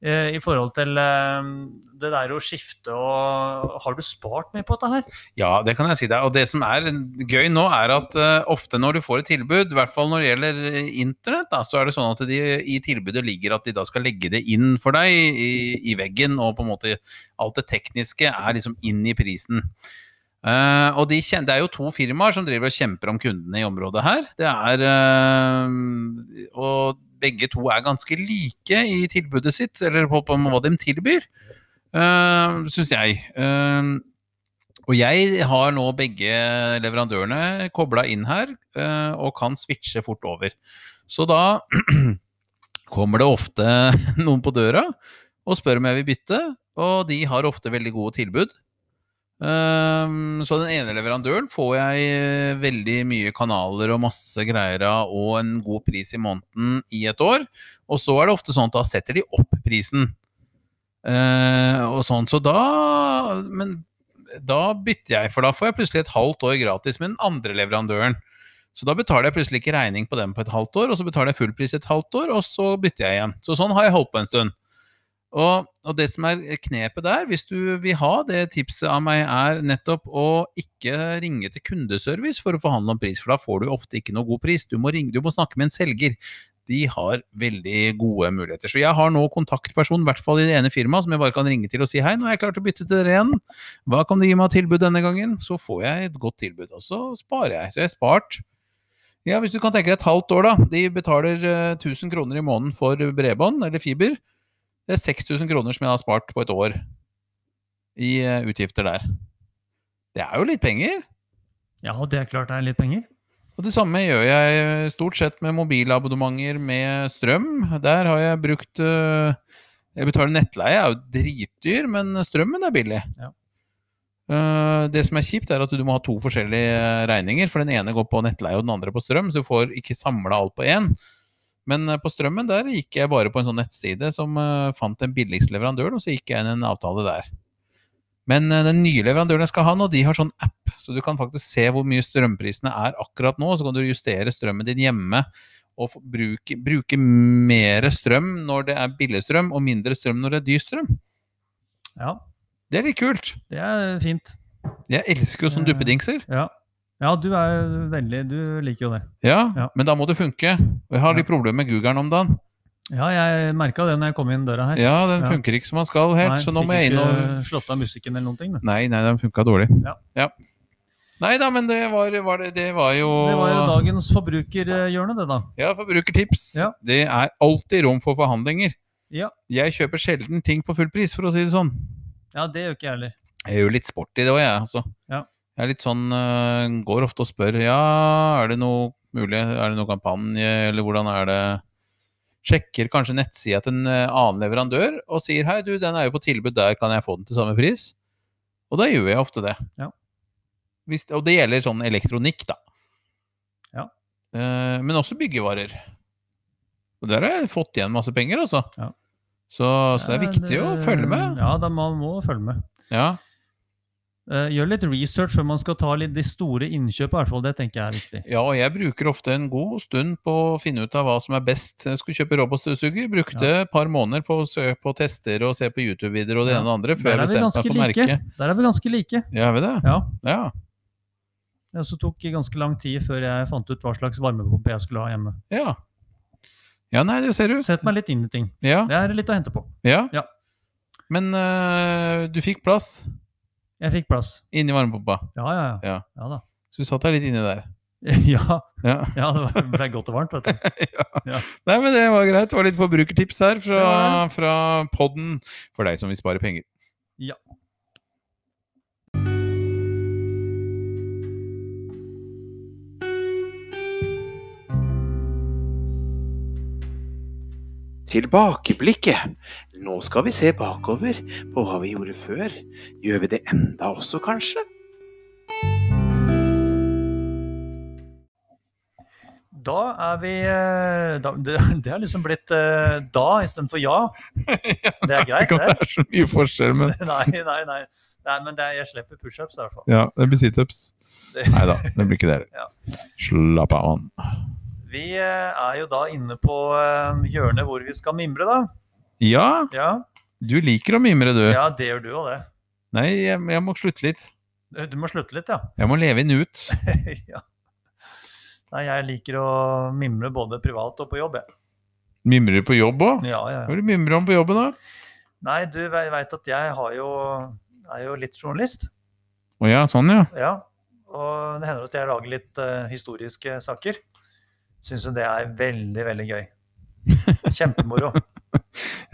S2: eh, i forhold til eh, det der å skifte og Har du spart mye på dette her?
S1: Ja, det kan jeg si deg. Og det som er gøy nå, er at eh, ofte når du får et tilbud, i hvert fall når det gjelder eh, internett, da, så er det sånn at de, i tilbudet ligger at de da skal legge det inn for deg i, i veggen, og på en måte alt det tekniske er liksom inn i prisen. Eh, og de, kjen- det er jo to firmaer som driver og kjemper om kundene i området her. Det er eh, Og begge to er ganske like i tilbudet sitt, eller på, på hva de tilbyr, uh, syns jeg. Eh, og jeg har nå begge leverandørene kobla inn her, eh, og kan switche fort over. Så da kommer det ofte noen på døra og spør om jeg vil bytte, og de har ofte veldig gode tilbud. Ehm, så den ene leverandøren får jeg eh, veldig mye kanaler og masse greier av, og en god pris i måneden i et år. Og så er det ofte sånn at da setter de opp prisen. Eh, og sånn, så da Men da bytter jeg, for da får jeg plutselig et halvt år gratis med den andre leverandøren. Så da betaler jeg plutselig ikke regning på den på et halvt år, og så betaler jeg full pris et halvt år, og så bytter jeg igjen. Så sånn har jeg holdt på en stund. Og, og det som er knepet der, hvis du vil ha det tipset av meg, er nettopp å ikke ringe til kundeservice for å forhandle om pris, for da får du ofte ikke noe god pris. Du må, ringe, du må snakke med en selger. De har veldig gode muligheter. Så jeg har nå kontaktperson, i hvert fall i det ene firmaet, som jeg bare kan ringe til og si hei, nå har jeg klart å bytte til dere igjen. Hva kan du gi meg av tilbud denne gangen? Så får jeg et godt tilbud, og så sparer jeg. Så jeg har spart. Ja, hvis du kan tenke deg et halvt år, da. De betaler eh, 1000 kroner i måneden for bredbånd eller fiber. Det er 6000 kroner som jeg har spart på et år i eh, utgifter der. Det er jo litt penger.
S2: Ja, det er klart det er litt penger.
S1: Og det samme gjør jeg stort sett med mobilabonnementer med strøm. Der har jeg brukt eh, Jeg betaler nettleie, er jo dritdyr, men strømmen er billig.
S2: Ja.
S1: Eh, Det som er kjipt, er at du må ha to forskjellige regninger. For den ene går på nettleie, og den andre på strøm, så du får ikke samla alt på én. Men eh, på strømmen der gikk jeg bare på en sånn nettside som eh, fant den billigste leverandøren, og så gikk jeg inn i en avtale der. Men eh, den nye leverandøren jeg skal ha nå, de har sånn app, så du kan faktisk se hvor mye strømprisene er akkurat nå. Så kan du justere strømmen din hjemme og få- bruke, bruke mer strøm når det er billig strøm, og mindre strøm når det er dyr strøm.
S2: Ja,
S1: Det er litt kult.
S2: det er fint.
S1: Jeg elsker jo sånne
S2: Ja.
S1: duppedingser.
S2: Ja, ja du er jo veldig Du liker jo det.
S1: Ja,
S2: Ja.
S1: men da må det funke. Og jeg har litt problemer med googeren om dagen.
S2: Ja, jeg merka det når jeg kom inn døra her.
S1: Ja, den
S2: Ja.
S1: funker ikke som den skal helt,
S2: Nei,
S1: så nå
S2: fikk
S1: må jeg inn og
S2: ikke slått av musikken eller noen ting. Da.
S1: Nei, nei, den funka dårlig.
S2: Ja.
S1: Nei da, men det var, var det, det var jo
S2: Det var jo dagens forbrukerhjørne, det da.
S1: Ja, forbrukertips.
S2: Ja.
S1: Det er alltid rom for forhandlinger.
S2: Ja.
S1: Jeg kjøper sjelden ting på full pris, for å si det sånn.
S2: Ja, det gjør ikke jeg heller.
S1: Jeg er jo litt sporty, det òg, jeg. Altså.
S2: Ja.
S1: Jeg er litt sånn øh, Går ofte og spør Ja, er det noe mulig? Er det noe kampanje, eller hvordan er det? Sjekker kanskje nettsida til en øh, annen leverandør og sier Hei, du, den er jo på tilbud der, kan jeg få den til samme pris? Og da gjør jeg ofte det.
S2: Ja.
S1: Hvis, og det gjelder sånn elektronikk, da.
S2: Ja.
S1: Eh, men også byggevarer. Og der har jeg fått igjen masse penger, altså.
S2: Ja.
S1: Så, så Altså, det er viktig å følge med.
S2: Ja, da man må følge med.
S1: Ja.
S2: Eh, Gjør litt research før man skal ta litt de store innkjøpene, i hvert fall. Det tenker jeg er viktig.
S1: Ja, og jeg bruker ofte en god stund på å finne ut av hva som er best. Jeg skulle kjøpe robotstøvsuger, brukte et par måneder på å søke på tester og se på YouTube-videoer og det
S2: Ja,
S1: ene og det andre før
S2: Der
S1: jeg
S2: er vi
S1: bestemte meg
S2: ganske
S1: for
S2: like.
S1: merke.
S2: Der er vi ganske like.
S1: Ja, er vi det?
S2: Ja.
S1: Ja.
S2: Det også tok ganske lang tid før jeg fant ut hva slags varmepumpe jeg skulle ha hjemme.
S1: Ja, ja nei, det ser du.
S2: Sett meg litt inn i ting.
S1: Ja,
S2: Det er litt å hente på.
S1: ja.
S2: Ja.
S1: Men øh, du fikk plass
S2: Jeg fikk plass.
S1: inni varmepumpa,
S2: Ja, ja, ja.
S1: Ja.
S2: Ja da.
S1: så du satt deg litt inni der.
S2: Ja,
S1: Ja.
S2: ja det var- ble godt og varmt, vet du.
S1: Nei, men det var greit. Det var litt forbrukertips her fra,
S2: var
S1: fra podden for deg som vil spare penger.
S2: Ja.
S4: Tilbakeblikket. Nå skal vi se bakover på hva vi gjorde før. Gjør vi det enda også, kanskje?
S2: Da er vi eh, da, det, det er liksom blitt eh, da istedenfor ja. Det er greit,
S1: Ikke
S2: det.
S1: at det er så mye forskjell, men
S2: Nei, nei, nei. nei men det er, jeg slipper pushups, i hvert fall.
S1: Ja, det blir situps.
S2: Det-
S1: Nei da, det blir ikke det.
S2: Ja.
S1: Slapp av, mann.
S2: Vi eh, er jo da inne på eh, hjørnet hvor vi skal mimre, da.
S1: Ja,
S2: Ja,
S1: du liker å mimre, du.
S2: ja det gjør du og det.
S1: Nei, jeg, jeg må slutte litt.
S2: Du må slutte litt, ja.
S1: Jeg må leve inn ut.
S2: ja. Nei, jeg liker å mimre både privat og på jobb, jeg.
S1: Mimrer du på jobb òg?
S2: Ja, ja,
S1: Hva
S2: ja.
S1: er det du mimrer om på jobben, da?
S2: Nei, du veit at jeg har jo, er jo litt journalist.
S1: Å ja, sånn, ja.
S2: Ja. Og det hender at jeg lager litt eh, historiske saker. Syns jo det er veldig, veldig gøy. Kjempemoro.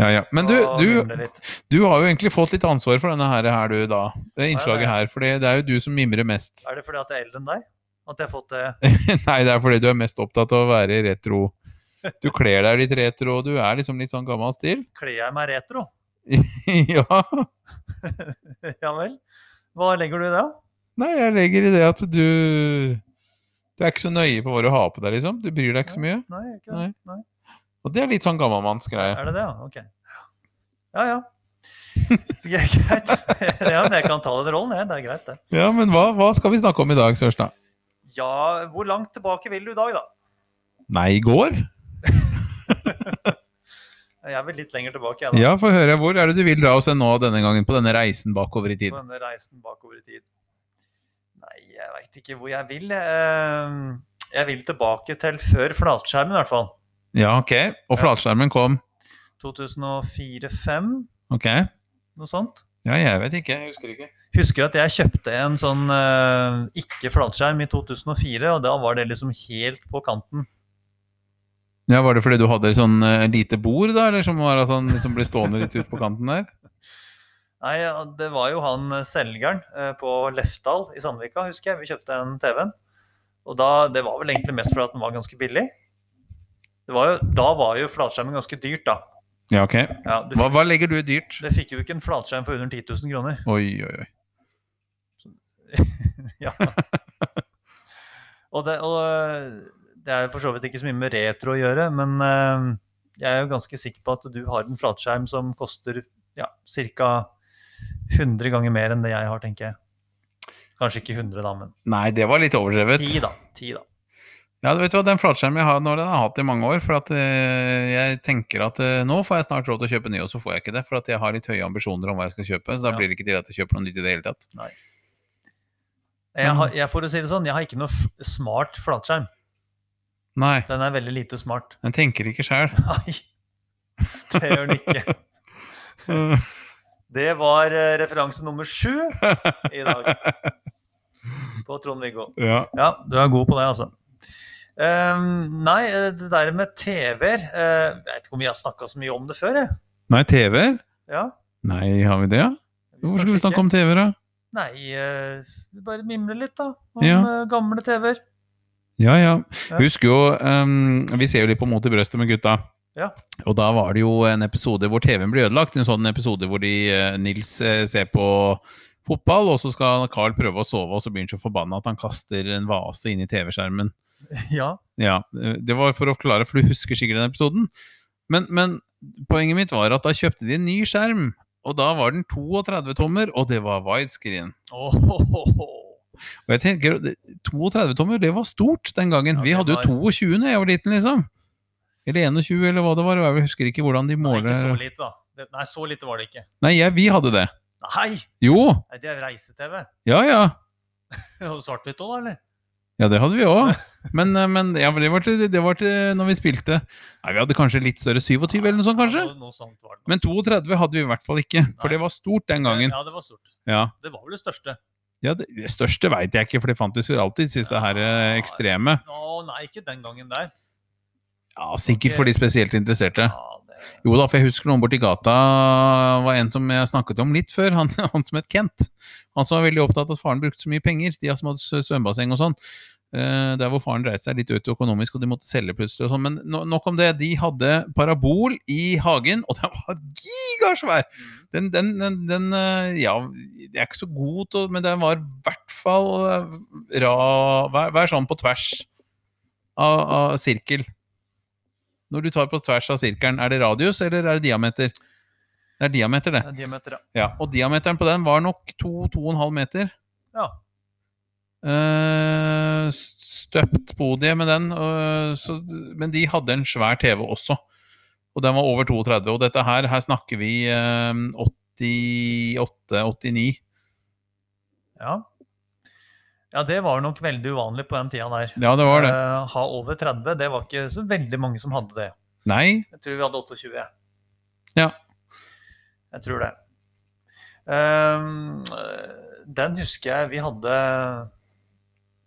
S1: ja, ja. Men du,
S2: å
S1: du,
S2: mimre litt.
S1: du har jo egentlig fått litt ansvar for denne her, her du, da. Det innslaget her. For det er jo du som mimrer mest.
S2: Er det fordi at jeg er eldre enn deg? At jeg har fått eh, det
S1: Nei, det er fordi du er mest opptatt av å være retro. Du kler deg litt retro, og du er liksom litt sånn gammel stil.
S2: Kler jeg meg retro?
S1: ja.
S2: ja vel. Hva legger du i det?
S1: Nei, jeg legger i det at du Du er ikke så nøye på hva du har på deg, liksom. Du bryr deg ikke så mye.
S2: Nei, ikke det. Nei.
S1: Og det er litt sånn gammalmannsgreie.
S2: Er det det, ja? Ok. Ja ja. Ja, Greit. Ja, men jeg kan ta den rollen, jeg. Det er greit, det.
S1: Ja, men hva, hva skal vi snakke om i dag, Sørstad?
S2: Ja, hvor langt tilbake vil du i dag, da?
S1: Nei, i går?
S2: Jeg vil litt lenger tilbake, jeg, da.
S1: Ja, få høre. Hvor er det du vil dra oss hen nå denne gangen, på denne reisen bakover i tid?
S2: på denne reisen bakover i tid? Nei, jeg veit ikke hvor jeg vil. Eh, Jeg vil tilbake til før flatskjermen, i hvert fall.
S1: Ja, ok. Og flatskjermen kom.
S2: 2004-2005,
S1: Ok.
S2: noe sånt.
S1: Ja, jeg vet ikke. Jeg husker ikke.
S2: Husker at jeg kjøpte en sånn eh, ikke-flatskjerm i 2004, og da var det liksom helt på kanten.
S1: Ja, Var det fordi du hadde sånn eh, lite bord, da? Eller som var at han liksom ble stående litt ut på kanten der?
S2: Nei, ja, det var jo han eh, selgeren eh, på Lefdal i Sandvika, husker jeg. Vi kjøpte den TV-en. Og da, det var vel egentlig mest fordi at den var ganske billig. Det var jo, da var jo flatskjermen ganske dyrt, da.
S1: Ja, ok.
S2: Ja, du
S1: Hva, hva legger du i dyrt?
S2: Det fikk jo ikke en flatskjerm for under 10 000 kroner.
S1: Oi, oi, oi.
S2: Ja. og, det, og det er jo for så vidt ikke så mye med retro å gjøre, men eh, jeg er jo ganske sikker på at du har en flatskjerm som koster ja, ca. 100 ganger mer enn det jeg har, tenker jeg. Kanskje ikke 100, da, men
S1: Nei, det var litt overdrevet.
S2: 10, da. 10, da.
S1: Ja, du vet hva, Den flatskjermen jeg har nå, den har jeg hatt i mange år. For at eh, jeg tenker at eh, nå får jeg snart råd til å kjøpe ny, og så får jeg ikke det. For at jeg har litt høye ambisjoner om hva jeg skal kjøpe. Så da
S2: Ja.
S1: blir det ikke til at jeg kjøper noe nytt i det hele tatt.
S2: Jeg, har, jeg, for å si det sånn, jeg har ikke noe f smart flatskjerm.
S1: Nei,
S2: Den er veldig lite smart.
S1: den tenker ikke sjæl.
S2: Nei, det gjør den ikke. Det var eh, referanse nummer sju i dag på Trond-Viggo.
S1: ja.
S2: Ja, du er god på det, altså. Ehm, nei, eh, det der med TV-er eh, Jeg vet ikke om vi har snakka så mye om det før, jeg.
S1: Nei, TV-er?
S2: Ja,
S1: Nei, har vi det? ja? Hvorfor skulle vi snakke om TV-er, da?
S2: Nei, eh, vi bare mimre litt, da. Om
S1: Ja.
S2: eh, gamle TV-er.
S1: Ja, ja.
S2: Ja.
S1: Husk jo ehm, Vi ser jo litt på Mot i brøstet med gutta.
S2: Ja.
S1: Og da var det jo en episode hvor TV-en ble ødelagt. En sånn episode hvor de, eh, Nils eh, ser på fotball, og så skal Carl prøve å sove, og så blir han så forbanna at han kaster en vase inn i TV-skjermen.
S2: Ja.
S1: Ja, eh, Det var for å forklare, for du husker sikkert den episoden. Men, men poenget mitt var at da kjøpte de en ny skjerm, og da var den 32 tommer, og det var widescreen.
S2: Åhåhåhå.
S1: Og jeg tenker, det- 32 tommer, det var stort den gangen.
S2: Ja,
S1: vi
S2: det
S1: hadde jo
S2: var-
S1: 22 da jeg var liten, liksom. Eller 21, eller hva det var. Jeg husker ikke hvordan de
S2: Nei, ikke så
S1: måler
S2: lite, da. Det, nei, så lite var det ikke.
S1: Nei, jeg, vi hadde det.
S2: Nei,
S1: Jo!
S2: nei, det er reise-TV.
S1: Ja, ja.
S2: Og Svart-hvitt òg, da, eller?
S1: Ja, det hadde vi òg. Men, eh, men ja, men det, var til, det var til når vi spilte. Nei, vi hadde kanskje litt større 27 eller noe sånt, kanskje.
S2: Ja, noe sånt var det.
S1: Men 32 hadde vi i hvert fall ikke, for
S2: Nei.
S1: det var stort den gangen.
S2: Ja, det var stort.
S1: Ja,
S2: Det var vel det største.
S1: ja det, det største veit jeg ikke, for det fantes jo alltid disse her eh, ekstreme.
S2: Å nei, ikke den gangen der.
S1: Ja, Sikkert for de spesielt interesserte.
S2: Ja, det...
S1: Jo da, for jeg husker noen borti gata var en som jeg snakket om litt før, han, han som het Kent. Han som var veldig opptatt av at faren brukte så mye penger, de som hadde sø- svømmebasseng og sånn. Eh, der hvor faren dreide seg litt ut økonomisk, og de måtte selge plutselig og sånn. Men no, nok om det. De hadde parabol i hagen, og den var gigasvær!
S2: Mm.
S1: Den, den, den, den eh, Ja, jeg er ikke så god til å Men den var i hvert fall eh, ra... Vær, vær sånn på tvers av, av sirkel. Når du tar på tvers av sirkelen, er det radius eller er det diameter? Det er diameter, det.
S2: Ja, Diameter, ja.
S1: Ja, Og diameteren på den var nok 2-2,5 meter.
S2: ja.
S1: Eh, støpt podiet med den, og så, men de hadde en svær TV også. og den var over 32. Og dette her, her snakker vi eh, 88-89.
S2: Ja. ja, det var nok veldig uvanlig på den tida der.
S1: Ja, det var det.
S2: Eh, ha over 30, det var ikke så veldig mange som hadde det.
S1: Nei.
S2: Jeg tror vi hadde 28. jeg.
S1: Ja.
S2: Jeg tror det. Ehm, øh, den husker jeg vi hadde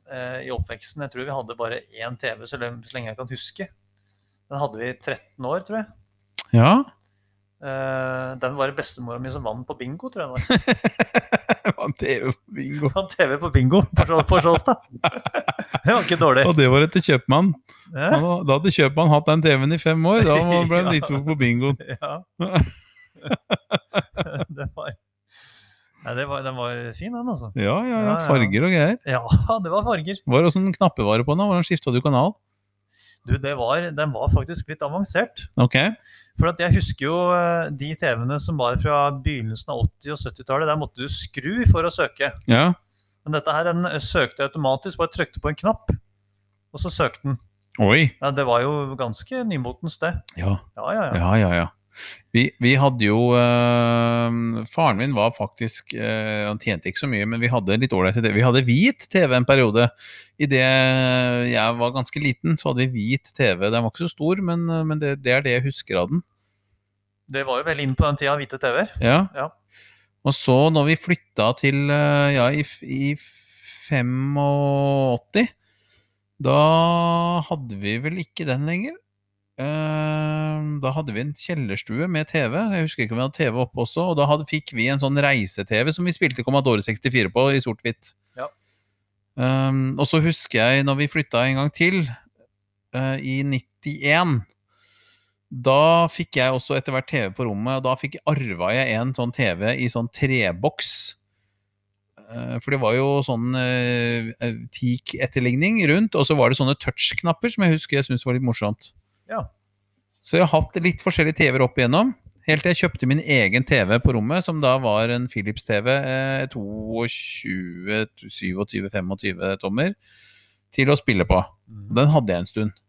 S2: eh, i oppveksten. Jeg tror vi hadde bare én TV, så lenge, så lenge jeg kan huske. Den hadde vi i 13 år, tror jeg.
S1: Ja.
S2: Eh, den var det bestemora mi som vant på bingo, tror jeg. det var.
S1: Vant TV på bingo.
S2: Hun vant TV på bingo på Sjå- på Sjåstad. Det var ikke dårlig.
S1: Og det var etter Kjøpmann.
S2: Eh?
S1: Da da hadde Kjøpmann hatt den TV-en i fem år. Da var- ble han
S2: Ja.
S1: dritgod på bingoen.
S2: Ja. det var, Nei, det var, den var fin, den, altså.
S1: Ja, ja, ja.
S2: Ja, ja.
S1: Farger og greier.
S2: Ja, det var farger.
S1: Var det også en knappevare på den? da? Hvordan skifta du kanal?
S2: Du, det var, den var faktisk litt avansert.
S1: Ok.
S2: For at jeg husker jo eh, de TV-ene som var fra begynnelsen av 80- og 70-tallet. Der måtte du skru for å søke.
S1: Ja.
S2: Men dette her, den søkte automatisk. Bare trykte på en knapp, og så søkte den.
S1: Oi.
S2: Ja, det var jo ganske nymotens, det.
S1: Ja.
S2: Ja, ja, ja.
S1: Ja, ja, ja. Vi, vi hadde jo eh, Faren min var faktisk eh, Han tjente ikke så mye, men vi hadde litt ålreit TV. Vi hadde hvit TV en periode. Idet jeg var ganske liten, så hadde vi hvit TV. Den var ikke så stor, men, eh, men det, det er det jeg husker av den.
S2: Det var jo vel inn på den tida, hvite TV-er.
S1: Ja.
S2: Ja.
S1: Og så, når vi flytta til eh, Ja, i, f- i 85 Da hadde vi vel ikke den lenger. Eh, Da hadde vi en kjellerstue med TV. Jeg husker ikke om vi hadde TV oppe også. Og da hadde, fikk vi en sånn reise-TV som vi spilte Commodore 64 på i sort-hvitt.
S2: Ja.
S1: Eh, og så husker jeg når vi flytta en gang til, eh, i 91 da fikk jeg også etter hvert TV på rommet, og da fikk arva jeg en sånn TV i sånn treboks. Eh, For det var jo sånn eh, eh, teak-etterligning rundt, og så var det sånne touch-knapper som jeg husker jeg syntes var litt morsomt.
S2: Ja.
S1: Så jeg har hatt litt forskjellige TV-er opp igjennom. Helt til jeg kjøpte min egen TV på rommet, som da var en Philips-TV eh, 22, 27, 25 tommer, til å spille på. Den hadde jeg en stund.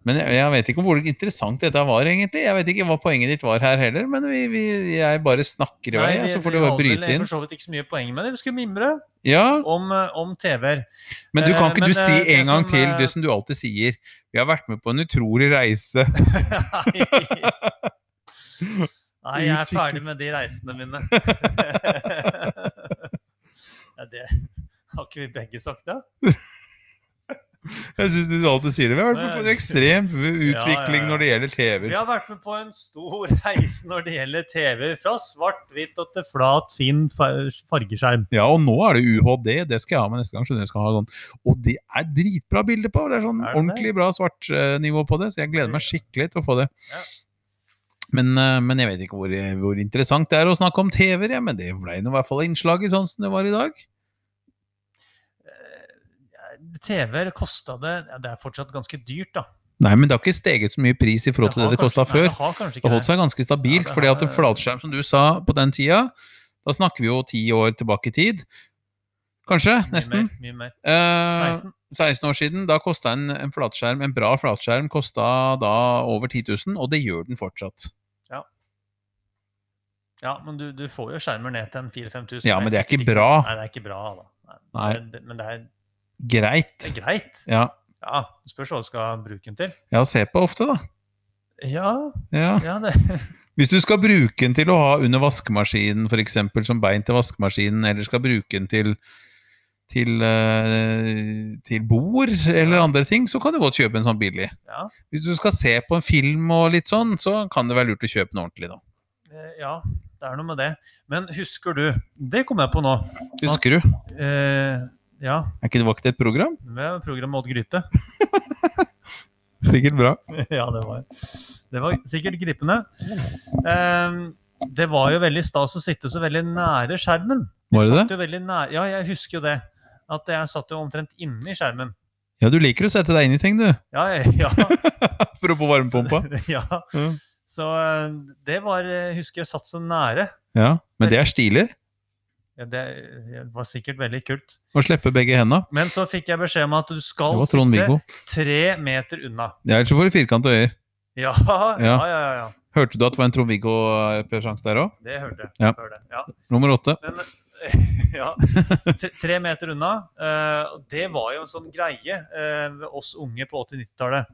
S1: Men jeg, jeg vet ikke hvor interessant dette var, egentlig. Jeg vet ikke hva poenget ditt var her heller, men vi, vi, jeg bare snakker i vei,
S2: Nei, vi-
S1: så får
S2: vi
S1: du bare
S2: hadde vel
S1: bryte inn.
S2: For så vidt ikke så mye poeng med det. Vi skulle mimre
S1: Ja,
S2: om, eh, om TV-er.
S1: men du kan
S2: eh,
S1: ikke
S2: men,
S1: du si
S2: eh, det
S1: en gang
S2: som,
S1: til
S2: eh,
S1: det som du alltid sier. Vi har vært med på en utrolig reise.
S2: Nei, jeg er ferdig med de reisene mine. ja, det har ikke vi begge sagt, da?
S1: Jeg syns du alltid sier det. Vi har vært med på en ekstrem
S2: ja.
S1: utvikling når det gjelder
S2: Vi
S1: TV-er.
S2: har vært med på en stor reise når det gjelder TV. Fra svart-hvitt og til flat, fin fa- fargeskjerm.
S1: Ja, og nå er det UHD. Det skal jeg ha med neste gang. skjønner du, jeg skal ha sånn. Og det er dritbra bilder på! Det er
S2: Er
S1: sånn
S2: det det?
S1: ordentlig bra svartnivå på det, så jeg gleder meg skikkelig til å få det.
S2: Ja.
S1: Men, eh, men jeg vet ikke hvor, hvor interessant det er å snakke om TV-er, ja, men det ble nå i hvert fall innslaget sånn som det var i dag.
S2: Eh, TV-er kosta det ja, Det er fortsatt ganske dyrt, da.
S1: Nei, men det har ikke steget så mye pris i forhold til det
S2: har
S1: det kosta
S2: kanskje- nei,
S1: før.
S2: Det har kanskje
S1: Det
S2: ikke
S1: holdt
S2: det.
S1: seg ganske
S2: Ja,
S1: stabilt,
S2: det
S1: fordi at
S2: har-
S1: en flatskjerm, som du sa, på den tida, da snakker vi jo ti år tilbake i tid. Kanskje,
S2: Mye
S1: nesten.
S2: mer, Mye mer.
S1: Eh,
S2: 16.
S1: 16 år siden, da kosta en, en flatskjerm, en bra flatskjerm, kosta da over 10 000, og det gjør den fortsatt.
S2: Ja, men du, du får jo skjermer ned til en 4000-5000.
S1: Ja, men det er ikke
S2: sikkert
S1: bra.
S2: Nei, det er ikke bra, da. Nei,
S1: Nei.
S2: Men, det, men det, er, det
S1: Greit.
S2: er greit.
S1: Ja,
S2: Ja, det spørs hva du skal bruke den til.
S1: ja se på ofte, da.
S2: Ja,
S1: Ja.
S2: ja det.
S1: Hvis du skal bruke den til å ha under vaskemaskinen, f.eks. som bein til vaskemaskinen, eller skal bruke den til til, eh, til bord eller andre ting, så kan du godt kjøpe en sånn billig.
S2: Ja.
S1: Hvis du skal se på en film og litt sånn, så kan det være lurt å kjøpe den ordentlig, da.
S2: Eh, ja, det er noe med det. Men husker du Det kom jeg på nå.
S1: Husker du?
S2: Eh, ja,
S1: Er ikke det var ikke det et program?
S2: med programmet Odd Gryte.
S1: Sikkert bra.
S2: ja, det var, det var sikkert gripende. Ehm, det var jo veldig stas å sitte så veldig nære skjermen. Vi
S1: Var det
S2: satt Jo veldig nære, ja, jeg husker jo det. At jeg satt jo omtrent inni skjermen.
S1: Ja, du liker å sette deg inn i ting, du.
S2: Ja, ja.
S1: Apropos varmepumpa.
S2: ja.
S1: Mm.
S2: Så eh, det var eh, Husker jeg satt så nære.
S1: Ja, men det er stilig
S2: Ja, det eh, var sikkert veldig kult.
S1: å slippe begge henda.
S2: Men så fikk jeg beskjed om at du
S1: Det
S2: skal
S1: var
S2: sitte
S1: Trond-Viggo.
S2: tre meter unna.
S1: Ja, ellers så får du firkantede øyer.
S2: Ja, ja, ja. ja, ja.
S1: Hørte du at det var en Trond-Viggo-sjanse der òg?
S2: Det hørte jeg.
S1: Ja.
S2: Hør det. Ja.
S1: Nummer åtte.
S2: Men, ja. T- Tre meter unna. eh, og det var jo en sånn greie eh, ved oss unge på 80-90-tallet.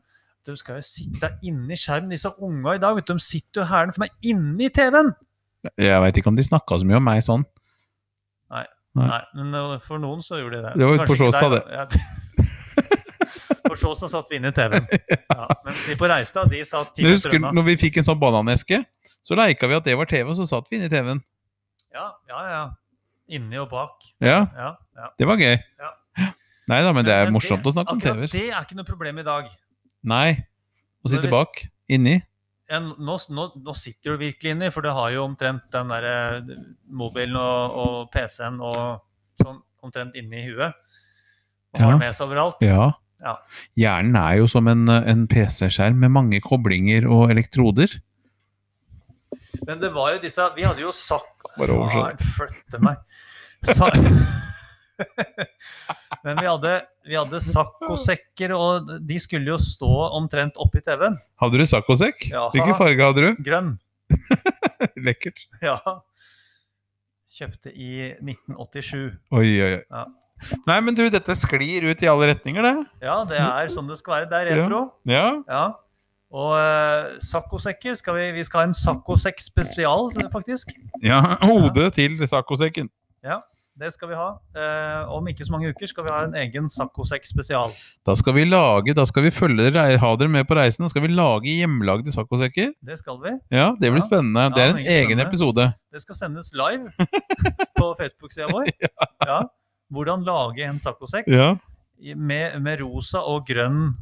S2: De skal jo sitte inne i skjermen, disse unga i dag. vet du, De sitter jo hæren for meg inne i TV-en!
S1: Jeg veit ikke om de snakka så mye om meg sånn. Nei.
S2: Nei, men eh, for noen så gjorde de det.
S1: Det var
S2: Kanskje
S1: på
S2: ikke
S1: Sjåstad,
S2: deg, da. Ja. På Sjåstad satt vi inne i TV-en. Ja, mens de på Reistad, de satt ti
S1: Men jeg
S2: meter
S1: husker
S2: unna.
S1: når vi fikk en sånn bananeske, så leika vi at det var TV, og så satt vi inne i TV-en.
S2: Ja, ja, ja. Inni og bak.
S1: Ja,
S2: Ja, ja.
S1: det var gøy.
S2: Ja.
S1: Nei da, men det er morsomt å snakke om
S2: akkurat
S1: TV-er.
S2: Det er ikke noe problem i dag.
S1: Nei. Å
S2: Men
S1: sitte
S2: hvis-
S1: bak. Inni.
S2: ja, nå, nå, nå sitter du virkelig inni, for du har jo omtrent den der eh, mobilen og, og PC-en og sånn omtrent inni huet. Og har
S1: Ja.
S2: den med seg overalt.
S1: Ja.
S2: Ja.
S1: Hjernen er jo som en, eh, en PC-skjerm med mange koblinger og elektroder.
S2: Men det var jo disse Vi hadde jo sagt
S1: Bare oversett.
S2: Faren Flytte meg. Sa, men vi hadde, vi hadde saccosekker, og de skulle jo stå omtrent oppi TV-en.
S1: Hadde du saccosekk?
S2: Jaha.
S1: Hvilken farge hadde du?
S2: Grønn.
S1: Lekkert.
S2: Ja. Kjøpte i 1987.
S1: Oi, oi, oi.
S2: Ja.
S1: Nei, men du, dette sklir ut i alle retninger, det.
S2: Ja, det er sånn det skal være. Det er
S1: Ja.
S2: retro.
S1: Ja.
S2: Ja. Og uh, saccosekker skal vi, vi skal ha en saccosekk spesial, faktisk.
S1: ja hodet til saccosekken.
S2: Det skal vi ha. Eh, om ikke så mange uker skal vi ha en egen saccosekk spesial.
S1: Da skal vi lage, da skal vi følge dere, ha dere med på reisen. Da skal vi lage hjemmelagde saccosekker.
S2: Det skal vi.
S1: Ja, det blir
S2: Ja.
S1: spennende. Det
S2: Ja,
S1: er en
S2: meget
S1: egen
S2: spennende.
S1: episode.
S2: Det skal sendes live på Facebook-sida vår. Ja. Hvordan lage en saccosekk
S1: Ja.
S2: i- med, med rosa og grønn,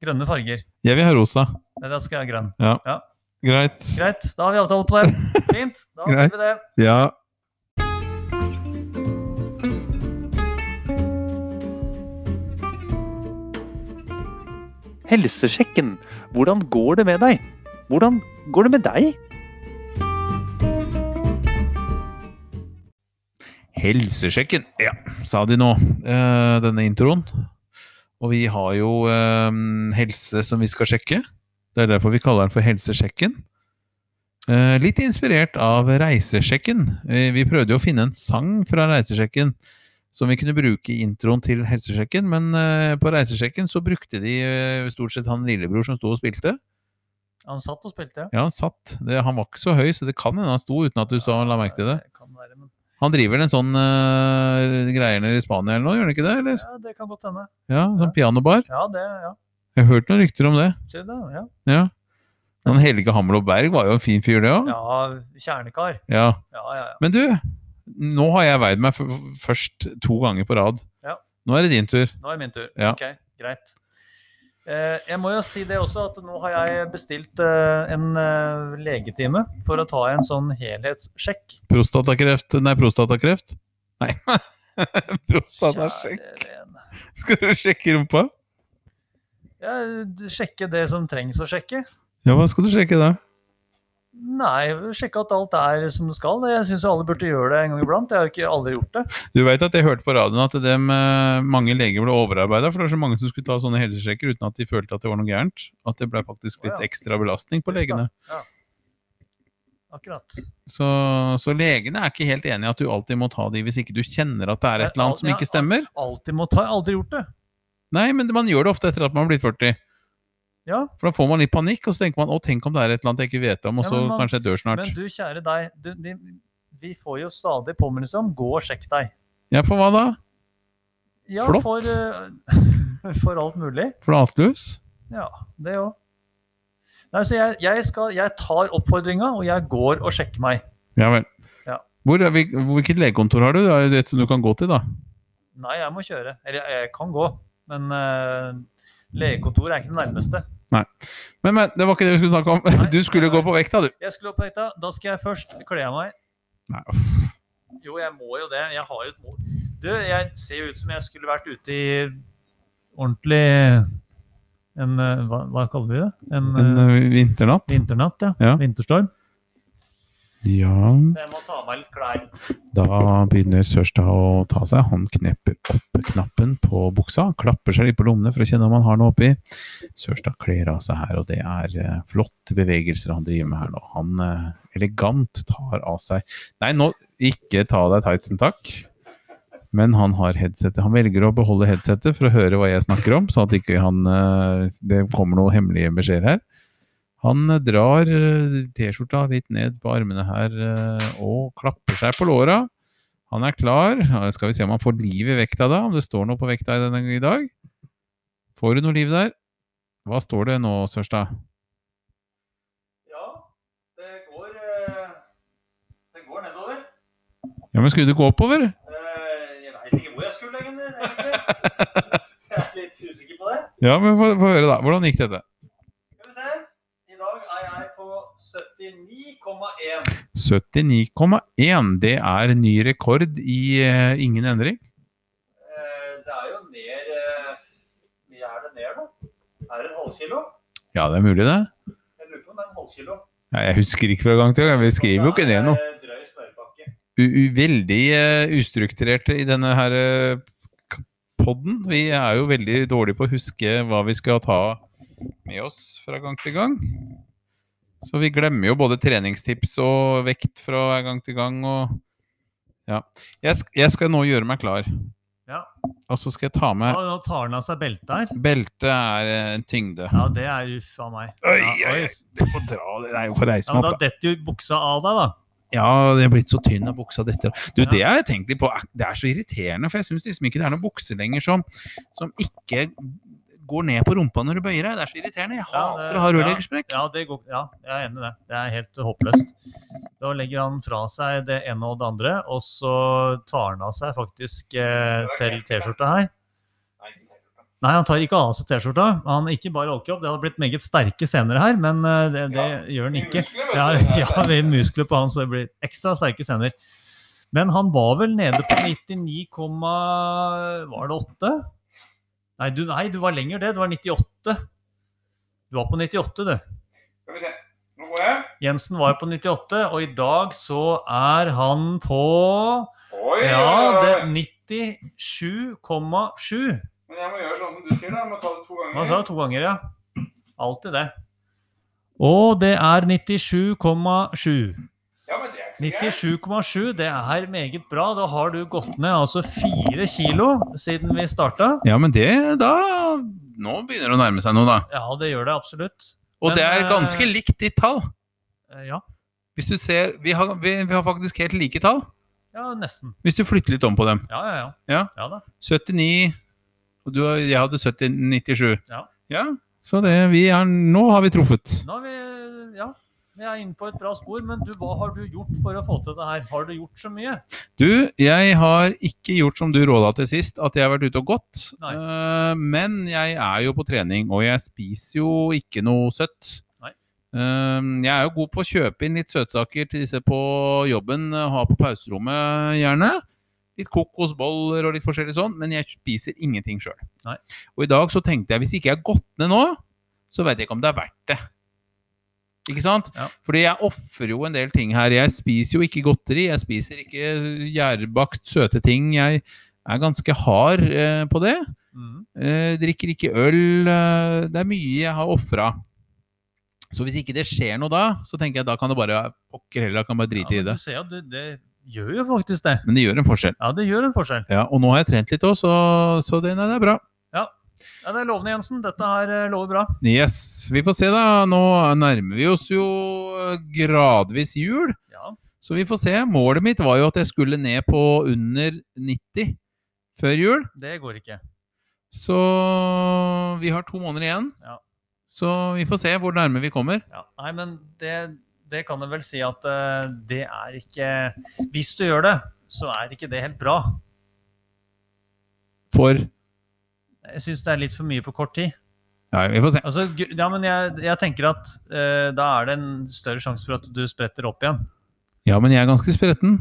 S2: grønne farger.
S1: Jeg vil ha rosa.
S2: Nei, da skal jeg ha grønn.
S1: Greit.
S2: Greit, da har vi avtale på det. Fint. Da
S1: Greit.
S2: sier vi det.
S1: Ja.
S6: Helsesjekken. Hvordan går det med deg? Hvordan går det med deg?
S1: Helsesjekken, ja, sa de nå, eh, denne introen. Og vi har jo eh, helse som vi skal sjekke. Det er derfor vi kaller den for Helsesjekken. Eh, litt inspirert av Reisesjekken. Eh, vi prøvde jo å finne en sang fra Reisesjekken som vi kunne bruke i introen til Helsesjekken, men eh, på Reisesjekken så brukte de eh, stort sett han lillebror som sto og spilte.
S2: Han satt og spilte.
S1: Ja, han satt. Det, han var ikke så høy, så det kan hende han sto uten at du sa la merke til det.
S2: Kan være, men...
S1: Han driver vel en sånn uh, greier nede i Spania eller noe, gjør han ikke det? eller?
S2: Ja, det kan godt hende.
S1: Ja, sånn pianobar.
S2: Ja, det, ja.
S1: Jeg har hørt noen rykter om det.
S2: Sier du det? Ja.
S1: Ja. Han Helge Hamlo Berg var jo en fin fyr, det òg. Ja.
S2: Ja, kjernekar. Ja, ja, ja.
S1: Men du, nå har jeg veid meg f- først to ganger på rad.
S2: Ja.
S1: Nå er det din tur.
S2: Nå er det min tur.
S1: Ja.
S2: Ok, greit. Eh, jeg må jo si det også at nå har jeg bestilt eh, en eh, legetime for å ta en sånn helhetssjekk.
S1: Prostatakreft Nei, prostatakreft? Nei. Prostatasjekk.
S2: Kjære vene.
S1: Skal du sjekke rumpa?
S2: Ja, du- sjekke det som trengs å sjekke.
S1: Ja, hva skal du sjekke da?
S2: Nei, sjekke at alt er som det skal. Jeg syns alle burde gjøre det en gang iblant. Jeg har jo ikke aldri gjort det.
S1: Du veit at jeg hørte på radioen at dem, eh, mange leger ble overarbeida, for det var så mange som skulle ta sånne helsesjekker uten at de følte at det var noe gærent. At det ble faktisk litt
S2: Å, ja.
S1: ekstra belastning på
S2: Just da.
S1: legene.
S2: Akkurat.
S1: Så, så legene er ikke helt enig i at du alltid må ta de hvis ikke du kjenner at det er et
S2: Men alt-
S1: eller annet som
S2: ja,
S1: ikke stemmer.
S2: Alltid må ta. Jeg har Aldri gjort det.
S1: Nei, men man gjør det ofte etter at man har blitt 40.
S2: Ja.
S1: For da får man litt panikk, og så tenker man å, tenk om det er et eller annet jeg ikke vet om, og
S2: Ja,
S1: så
S2: men man-
S1: kanskje jeg dør snart.
S2: Men du kjære deg, du, de, vi får jo stadig påminnelse om gå og sjekk deg.
S1: Ja, for hva da?
S2: Ja,
S1: Flott.
S2: For, eh, for alt mulig.
S1: Flatlus?
S2: Ja, det òg. Nei, så jeg, jeg, skal, jeg tar oppfordringa, og jeg går og sjekker meg.
S1: Ja vel.
S2: Ja.
S1: Hvor, er vi- hvilket legekontor har du? Det er jo et som du kan gå til, da.
S2: Nei, jeg må kjøre. Eller jeg, jeg kan gå, men uh, legekontoret er ikke det nærmeste.
S1: Men, men, det var ikke det vi skulle snakke om.
S2: Nei,
S1: Du skulle
S2: nei,
S1: gå på vekta, du.
S2: Jeg skulle opp på hytta. Da skal jeg først kle av meg.
S1: Nei, uff.
S2: Jo, jeg må jo det. Jeg har jo et mål. Du, jeg ser jo ut som jeg skulle vært ute i ordentlig en eh, hva, hva kaller vi det? En,
S1: En
S2: eh,
S1: ø, vinternatt?
S2: Vinternatt, ja.
S1: Ja.
S2: Vinterstorm.
S1: Ja
S2: Så jeg må ta av meg litt klær.
S1: Da begynner Sørstad å ta seg. Han knepper opp knappen på buksa, klapper seg litt på lommene for å kjenne om han har noe oppi. Sørstad kler av seg her, og det er eh, flotte bevegelser han driver med her nå. Han eh, elegant tar av seg Nei, nå ikke ta av deg tightsen, takk. Men han har headsetet. Han velger å beholde headsetet for å høre hva jeg snakker om, så at ikke han, eh, det kommer noen hemmelige beskjeder her. Han eh, drar eh, T-skjorta litt ned på armene her eh, og klapper seg på låra. Han er klar. Ja, Skal vi se om han får liv i vekta da, om det står noe på vekta i, denne, i dag. Får du noe liv der? Hva står det nå, Sørstad?
S2: Ja, det går eh, Det går nedover.
S1: Ja, men skulle det gå oppover?
S2: Eh, Jeg veit ikke hvor jeg skulle egentlig. egentlig. Jeg er litt usikker på det.
S1: Ja, men få få høre, da. Hvordan gikk dette?
S2: Skal vi se. I dag er jeg på 79,1.
S1: 79,1. Det er ny rekord i eh, ingen endring.
S2: Eh, Det er jo ned eh, Mye er det ned, da? Er det en halvkilo?
S1: Ja, det er mulig, det.
S2: Jeg lurer på om det er en halvkilo.
S1: Ja, jeg husker ikke fra gang til gang. Vi skriver jo ikke ned noe.
S2: Det er eh, Drøy smørpakke.
S1: u u- veldig eh, ustrukturerte i denne her eh, podden. Vi er jo veldig dårlige på å huske hva vi skal ta med oss fra gang til gang. Så vi glemmer jo både treningstips og vekt fra gang til gang og Ja. Jeg, sk jeg skal nå gjøre meg klar.
S2: Ja.
S1: Og så skal jeg ta med
S2: nå tar han av seg beltet her.
S1: Beltet er eh, en tyngde.
S2: Ja, det er uff a meg.
S1: Oi,
S2: Ja,
S1: oi, oi. Du får dra det. Nei, jeg får reise
S2: Ja, men
S1: meg
S2: da
S1: opp, da.
S2: detter jo buksa av deg, da.
S1: Ja, det er blitt så tynn av buksa dette. Du,
S2: Ja.
S1: det har jeg tenkt litt på. Det er så irriterende, for jeg syns liksom ikke det er noen bukser lenger som, som ikke går ned på rumpa når du bøyer deg. Det er så irriterende. Jeg
S2: Ja, det-
S1: hater å ha
S2: ja.
S1: rørleggersprekk.
S2: Ja, det går, ja, jeg er enig i det. Det er helt håpløst. Da legger han fra seg det ene og det andre, og så tar han av seg faktisk eh, til T-skjorta her. Nei, han tar ikke av seg T-skjorta. Han er ikke bare allcrop. Det hadde blitt meget sterke senere her, men eh, det, det gjør han ikke. Ja, ja, vi muskler på han, så det blir ekstra sterke scener. Men han var vel nede på 99, var det 8? Nei du, nei, du var lenger det. Du var 98. Du var på 98, du.
S3: Skal vi se. Nå går jeg.
S2: Jensen var på 98, og i dag så er han på
S3: Oi,
S2: Ja,
S3: oi,
S2: det
S3: oi.
S2: 97,7.
S3: Men jeg må gjøre sånn som du sier, da. Jeg må ta det to ganger.
S2: Hva sa du? To ganger, ja. Alltid det. Og det er 97,7.
S3: Ja, men det er ikke så gærent.
S2: 97,7, det er meget bra. Da har du gått ned altså fire kilo siden vi starta.
S1: Ja, men det da Nå begynner det å nærme seg noe, da.
S2: Ja, det gjør det absolutt.
S1: Og
S2: Men,
S1: det er
S2: eh,
S1: ganske likt ditt tall.
S2: Eh, Ja,
S1: Hvis du ser vi har, vi, vi har faktisk helt like tall.
S2: ja nesten.
S1: Hvis du flytter litt om på dem.
S2: Ja, ja, ja.
S1: Ja.
S2: da.
S1: 79 Og du, har- jeg hadde 70, 97.
S2: Ja.
S1: Så det vi er Nå har vi truffet.
S2: Nå er vi Ja. Vi er inne på et bra spor, men du, hva har du gjort for å få til det her? Har du gjort så mye?
S1: Du, jeg har ikke gjort som du råda til sist, at jeg har vært ute og gått.
S2: Nei.
S1: Eh, men jeg er jo på trening, og jeg spiser jo ikke noe søtt.
S2: Nei.
S1: Eh, jeg er jo god på å kjøpe inn litt søtsaker til disse på jobben, eh, ha på pauserommet gjerne. Litt kokosboller og litt forskjellig sånn, men jeg spiser ingenting sjøl.
S2: Nei.
S1: Og i dag så tenkte jeg hvis ikke jeg har gått ned nå, så veit jeg ikke om det er verdt det. Ikke sant? Fordi jeg ofrer jo en del ting her. Jeg spiser jo ikke godteri, jeg spiser ikke gjærbakt søte ting. Jeg er ganske hard eh, på det.
S2: Mm.
S1: Eh, drikker ikke øl. Eh, det er mye jeg har ofra. Så hvis ikke det skjer noe da, så tenker jeg da kan det bare pokker heller, da kan jeg bare
S2: Ja,
S1: drite
S2: men
S1: i
S2: du
S1: det.
S2: ser jo, du, det gjør jo faktisk det.
S1: Men det gjør en forskjell.
S2: Ja, det gjør en forskjell.
S1: Ja, og nå har jeg trent litt òg, så, så det, nei, det er bra.
S2: Ja, Det er lovende, Jensen. Dette her eh, lover bra.
S1: Yes. Vi får se, da. Nå nærmer vi oss jo eh, gradvis jul.
S2: Ja.
S1: Så vi får se. Målet mitt var jo at jeg skulle ned på under 90 før jul.
S2: Det går ikke.
S1: Så vi har to måneder igjen.
S2: Ja.
S1: Så vi får se hvor nærme vi kommer.
S2: Ja, nei, men det, det kan jeg vel si at eh, det er ikke Hvis du gjør det, så er ikke det helt bra.
S1: For
S2: Jeg syns det er litt for mye på kort tid.
S1: Nei, vi får se.
S2: Altså, gu- ja, men jeg, jeg tenker at eh, da er det en større sjanse for at du spretter opp igjen.
S1: Ja, men jeg er ganske spretten.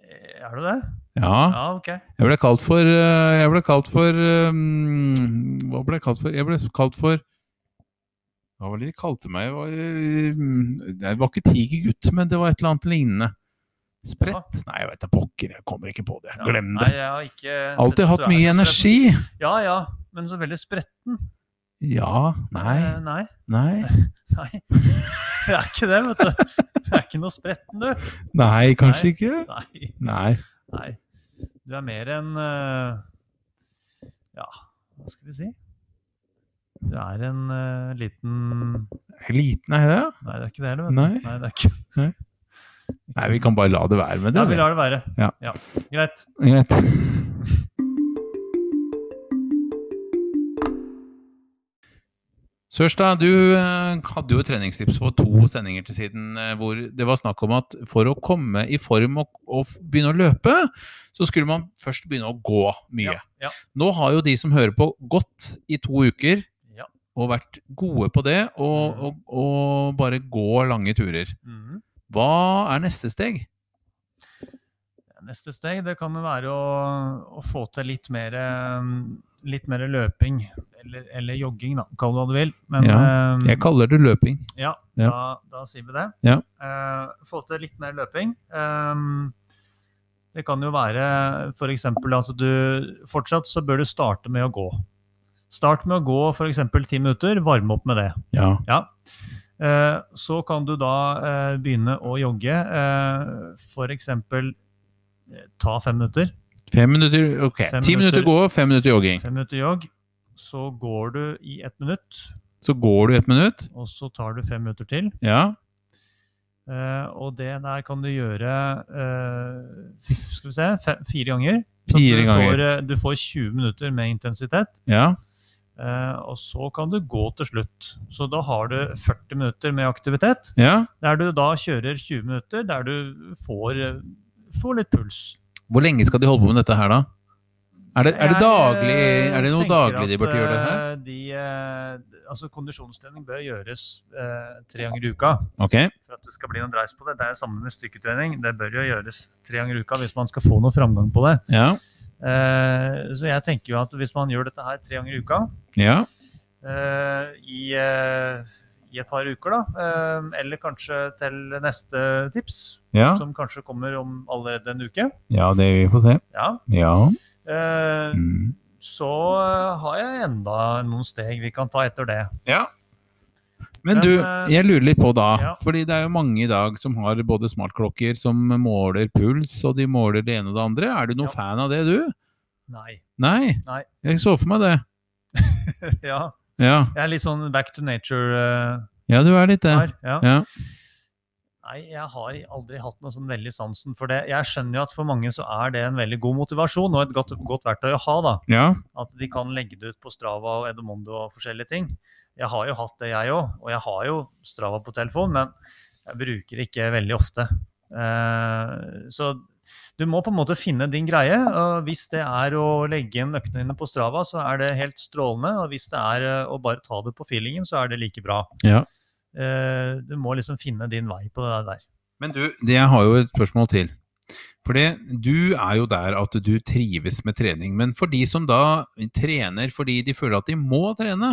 S2: Eh, Er du det?
S1: Ja.
S2: Ja, ok.
S1: Jeg ble kalt for eh, Jeg ble kalt for eh, mm, Hva ble jeg kalt for? Jeg ble kalt for Hva var det de kalte meg? Det var, eh, det var ikke tigergutt, men det var et eller annet lignende. Sprett? Nei, jeg vet da pokker. Jeg kommer ikke på det.
S2: Ja.
S1: Glem
S2: Nei,
S1: det.
S2: jeg har ikke
S1: Alltid
S2: Du
S1: hatt
S2: er
S1: mye
S2: så spretten.
S1: energi.
S2: Ja, ja, men så veldig spretten.
S1: Ja. Nei.
S2: Eh, Nei.
S1: Nei.
S2: Nei. Det er ikke det, vet du. Det er ikke noe spretten, du.
S1: Nei, kanskje ikke.
S2: Nei.
S1: Nei.
S2: Nei. Du er mer en eh, Ja, hva skal vi si? Du er en eh, liten
S1: Liten er jeg det?
S2: Nei, det er ikke det heller. vet du.
S1: Nei.
S2: Nei, det er ikke.
S1: Nei, vi kan bare la det være med det.
S2: Ja, vi lar det være.
S1: Ja.
S2: Greit.
S1: Greit. Sørstad, du eh, hadde jo et treningstips for to sendinger til siden eh, hvor det var snakk om at for å komme i form og, og f- begynne å løpe, så skulle man først begynne å gå
S2: Ja,
S1: mye.
S2: ja.
S1: Nå har jo de som hører på, gått i to uker
S2: Ja.
S1: og vært gode på det, og,
S2: Mhm.
S1: og, og bare gå lange turer.
S2: Mhm.
S1: Hva er neste steg?
S2: Neste steg det kan jo være å, å få til litt mer, eh, litt mer løping. Eller, eller jogging, da. Kall det hva du vil. Men eh,
S1: Jeg kaller det løping.
S2: ja,
S1: ja.
S2: Da, da sier vi det.
S1: Ja.
S2: Eh, få til litt mer løping. Eh, det kan jo være f.eks. at du fortsatt så bør du starte med å gå. Start med å gå f.eks. ti minutter, varme opp med det.
S1: Ja.
S2: Ja. Eh, Så kan du da eh, begynne å jogge. eh, For eksempel eh, ta fem minutter.
S1: Fem minutter, ok.
S2: Fem
S1: Ti
S2: minutter.
S1: minutter gå, fem minutter jogging.
S2: Fem minutter jogg. Så går du i ett minutt,
S1: Så går du ett minutt.
S2: og så tar du fem minutter til.
S1: Ja.
S2: Eh, Og det der kan du gjøre eh, skal vi se, fe- fire ganger. Så
S1: Fire
S2: du
S1: ganger.
S2: Får, eh, du får 20 minutter med intensitet,
S1: ja.
S2: eh, og så kan du gå til slutt. Så da har du 40 minutter med aktivitet.
S1: ja.
S2: Der du da kjører 20 minutter, der du får, eh, får litt puls.
S1: Hvor lenge skal de holde på med dette her, da? Er det, er det,
S2: Jeg,
S1: daglig,
S2: eh,
S1: er det noe
S2: tenker
S1: daglig de
S2: at,
S1: burde gjøre det her?
S2: eh, De, eh, altså kondisjonstrening bør gjøres eh, tre ganger i uka.
S1: Ok.
S2: For at det skal bli noen dreis på det. Det er jo samme med styrketrening. Det bør jo gjøres tre ganger i uka hvis man skal få noe framgang på det.
S1: Ja.
S2: Eh, så jeg tenker jo at hvis man gjør dette her tre ganger i uka
S1: ja.
S2: eh, i, eh, i et par uker, da, eh, eller kanskje til neste tips,
S1: Ja.
S2: som kanskje kommer om allerede en uke,
S1: ja, det vi får se.
S2: ja,
S1: Ja.
S2: eh,
S1: Mm.
S2: så eh, har jeg enda noen steg vi kan ta etter det.
S1: Men
S2: Men,
S1: du,
S2: eh,
S1: jeg lurer litt på da,
S2: ja.
S1: fordi det er jo mange i dag som har både smartklokker som måler puls, og de måler det ene og det andre. Er du noen
S2: Ja.
S1: fan av det, du?
S2: Nei.
S1: Nei.
S2: Nei.
S1: Jeg så for meg det.
S2: ja,
S1: Ja,
S2: jeg er litt sånn back to nature eh,
S1: ja du er litt det.
S2: her. Ja.
S1: Ja.
S2: Nei, jeg har aldri hatt noe sånn veldig sansen for det. Jeg skjønner jo at for mange så er det en veldig god motivasjon og et godt, godt verktøy å ha, da.
S1: Ja.
S2: At de kan legge det ut på Strava og Edomondo og forskjellige ting. Jeg har jo hatt det, jeg òg. Og jeg har jo Strava på telefon, men jeg bruker det ikke veldig ofte. Eh, så du må på en måte finne din greie. og Hvis det er å legge inn øktene dine på Strava, så er det helt strålende. Og hvis det er eh, å bare ta det på feelingen, så er det like bra.
S1: Ja.
S2: Eh, du må liksom finne din vei på det der.
S1: Men du, det jeg har jo et spørsmål til. For det, du er jo der at du trives med trening, men for de som da trener fordi de føler at de må trene,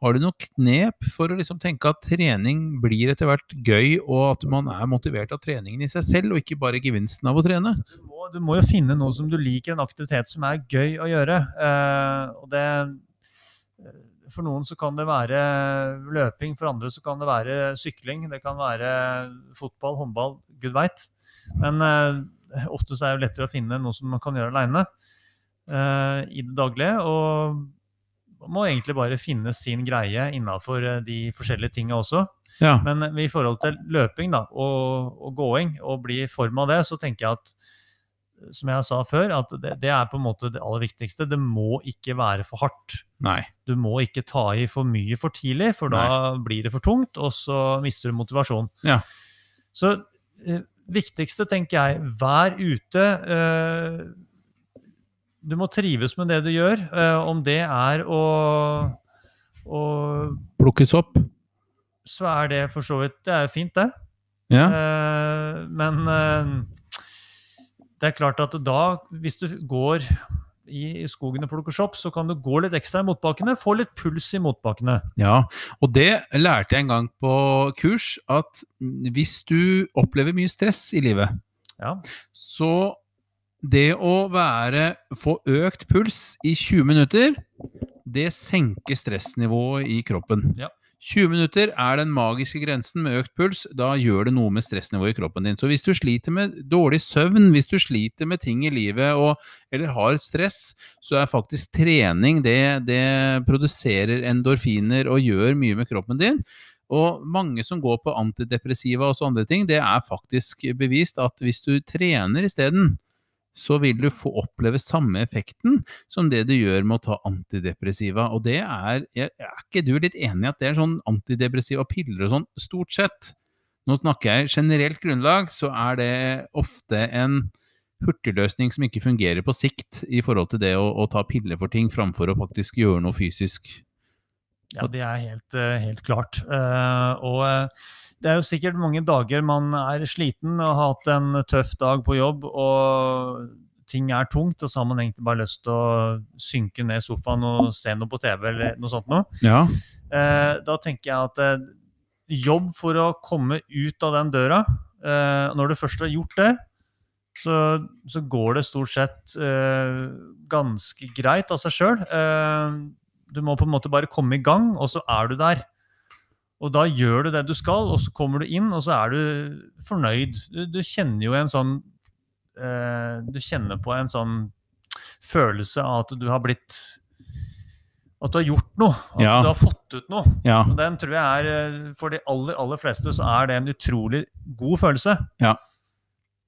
S1: har du noe knep for å liksom tenke at trening blir etter hvert gøy, og at man er motivert av treningen i seg selv, og ikke bare gevinsten av å trene?
S2: du må, du må jo finne noe som du liker, en aktivitet som er gøy å gjøre. Eh, og det, eh, for noen så kan det være løping, for andre så kan det være sykling, det kan være fotball, håndball, gud veit. Men eh, ofte så er det jo lettere å finne noe som man kan gjøre aleine eh, i det daglige. og man må egentlig bare finne sin greie innafor de forskjellige tinga også.
S1: Ja.
S2: Men i forhold til løping da, og, og gåing, og bli i form av det, så tenker jeg at som jeg sa før, at det, det er på en måte det aller viktigste. Det må ikke være for hardt.
S1: Nei.
S2: Du må ikke ta i for mye for tidlig, for da blir det for tungt, og så mister du motivasjon.
S1: Ja.
S2: Så eh, viktigste, tenker jeg, vær ute. Eh, du må trives med det du gjør. Eh, om det er å, å
S1: Plukkes opp.
S2: Så er det for så vidt Det er jo fint, det.
S1: Ja.
S2: Eh, men eh, det er klart at da, hvis du går i, i skogen og plukker sopp, så kan du gå litt ekstra i motbakkene. Få litt puls i motbakkene.
S1: Ja, og det lærte jeg en gang på kurs, at hvis du opplever mye stress i livet,
S2: Ja.
S1: så det å være, få økt puls i 20 minutter, det senker stressnivået i kroppen.
S2: Ja.
S1: 20 minutter er den magiske grensen med økt puls. Da gjør det noe med stressnivået i kroppen din. Så hvis du sliter med dårlig søvn, hvis du sliter med ting i livet og, eller har stress, så er faktisk trening det, det produserer endorfiner og gjør mye med kroppen din. Og mange som går på antidepressiva og sånne ting, det er faktisk bevist at hvis du trener isteden, så vil du få oppleve samme effekten som det du gjør med å ta antidepressiva. Og det er Er er ikke du litt enig i at det er sånn antidepressiva piller og sånn, stort sett? Nå snakker jeg generelt grunnlag, så er det ofte en hurtigløsning som ikke fungerer på sikt i forhold til det å, å ta piller for ting framfor å faktisk gjøre noe fysisk.
S2: Ja, det er helt, eh, helt klart. Eh, og eh, det er jo sikkert mange dager man er sliten og har hatt en tøff dag på jobb, og ting er tungt, og så har man egentlig bare lyst til å synke ned i sofaen og se noe på TV eller noe sånt noe.
S1: Ja.
S2: Eh, da tenker jeg at eh, jobb for å komme ut av den døra eh, Når du først har gjort det, så, så går det stort sett eh, ganske greit av seg sjøl. Eh, du må på en måte bare komme i gang, og så er du der. Og da gjør du det du skal, og så kommer du inn, og så er du fornøyd. Du, du kjenner jo en sånn eh, Du kjenner på en sånn følelse av at du har blitt At du har gjort noe. At
S1: Ja.
S2: du har fått ut noe.
S1: ja.
S2: Og Den tror jeg er, eh, for de aller, aller fleste, så er det en utrolig god følelse.
S1: Ja.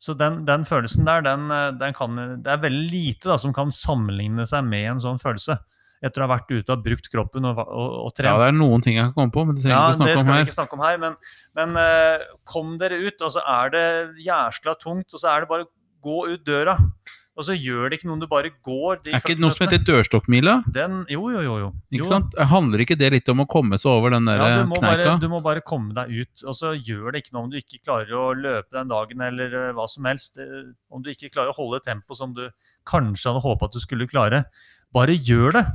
S2: Så den, den følelsen der, den, eh, den kan, det er veldig lite da, som kan sammenligne seg med en sånn følelse. Etter å ha vært ute og brukt kroppen og, va- og, og
S1: Ja,
S2: trent.
S1: det er noen ting jeg kan komme på, men det trenger
S2: Ja,
S1: vi ikke å
S2: det
S1: snakke om
S2: skal vi
S1: her.
S2: ikke snakke om her, men, men eh, kom dere ut, og så er det jæsla tungt, og så er det bare å gå ut døra. Og så gjør det ikke noe om du bare går. de
S1: Er ikke
S2: 40
S1: det noe som
S2: minuttene.
S1: heter dørstokkmila?
S2: den, Jo, jo, jo. jo.
S1: Ikke
S2: jo.
S1: sant? Handler ikke det litt om å komme seg over den der eh,
S2: Ja, du må, bare,
S1: kneika?
S2: du må bare komme deg ut, og så gjør det ikke noe om du ikke klarer å løpe den dagen eller eh, hva som helst. eh, Om du ikke klarer å holde tempoet som du kanskje hadde håpa at du skulle klare. Bare gjør det!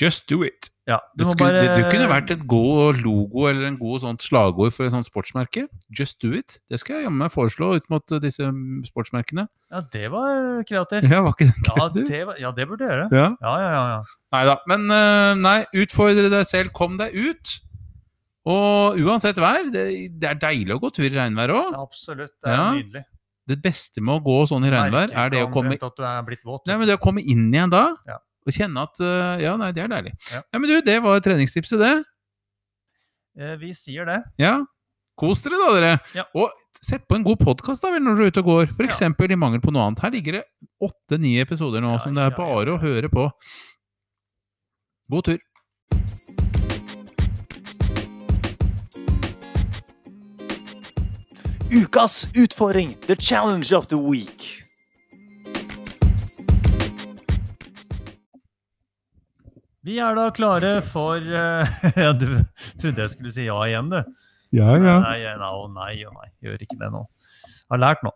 S1: Just do it!
S2: Ja, du
S1: Det,
S2: må
S1: skulle, det,
S2: bare-
S1: det kunne vært et god logo eller en god sånt slagord for et sånt sportsmerke. Just do it. Det skal jeg jammen meg foreslå ut mot eh, disse mm, sportsmerkene.
S2: Ja, det var eh, kreativt.
S1: Ja, var ikke det
S2: Ja,
S1: kreativt?
S2: det, var, ja, det burde du gjøre.
S1: Ja.
S2: Ja, ja, ja. ja.
S1: Nei da. Men eh, nei, utfordre deg selv. Kom deg ut. Og uansett vær, det, det er deilig å gå tur i regnvær òg.
S2: Absolutt. Det er
S1: Ja.
S2: nydelig.
S1: Det beste med å gå sånn i regnvær,
S2: Merker
S1: er det å
S2: ikke
S1: komme
S2: omtrent at du er blitt våt.
S1: Nei, men det å komme inn igjen da,
S2: Ja.
S1: og kjenne at eh, Ja, nei, det er deilig.
S2: Ja.
S1: Nei, men du, det var treningstipset, det.
S2: Eh, Vi sier det.
S1: Ja. Kos dere, da, dere.
S2: Ja.
S1: Og sett på en god podkast da, vel, når du er ute og går. For
S2: Ja.
S1: eksempel i mangel på noe annet. Her ligger det åtte-ni episoder nå
S2: Ja,
S1: som det er
S2: ja, ja,
S1: bare
S2: ja.
S1: å høre på. God tur.
S6: Ukas utfordring! The challenge of the week!
S2: Vi er da klare for eh, ja, Du trodde jeg skulle si ja igjen, du.
S1: Ja,
S2: Nei, nei, nei, å nei, å nei, gjør ikke det nå. Har lært nå.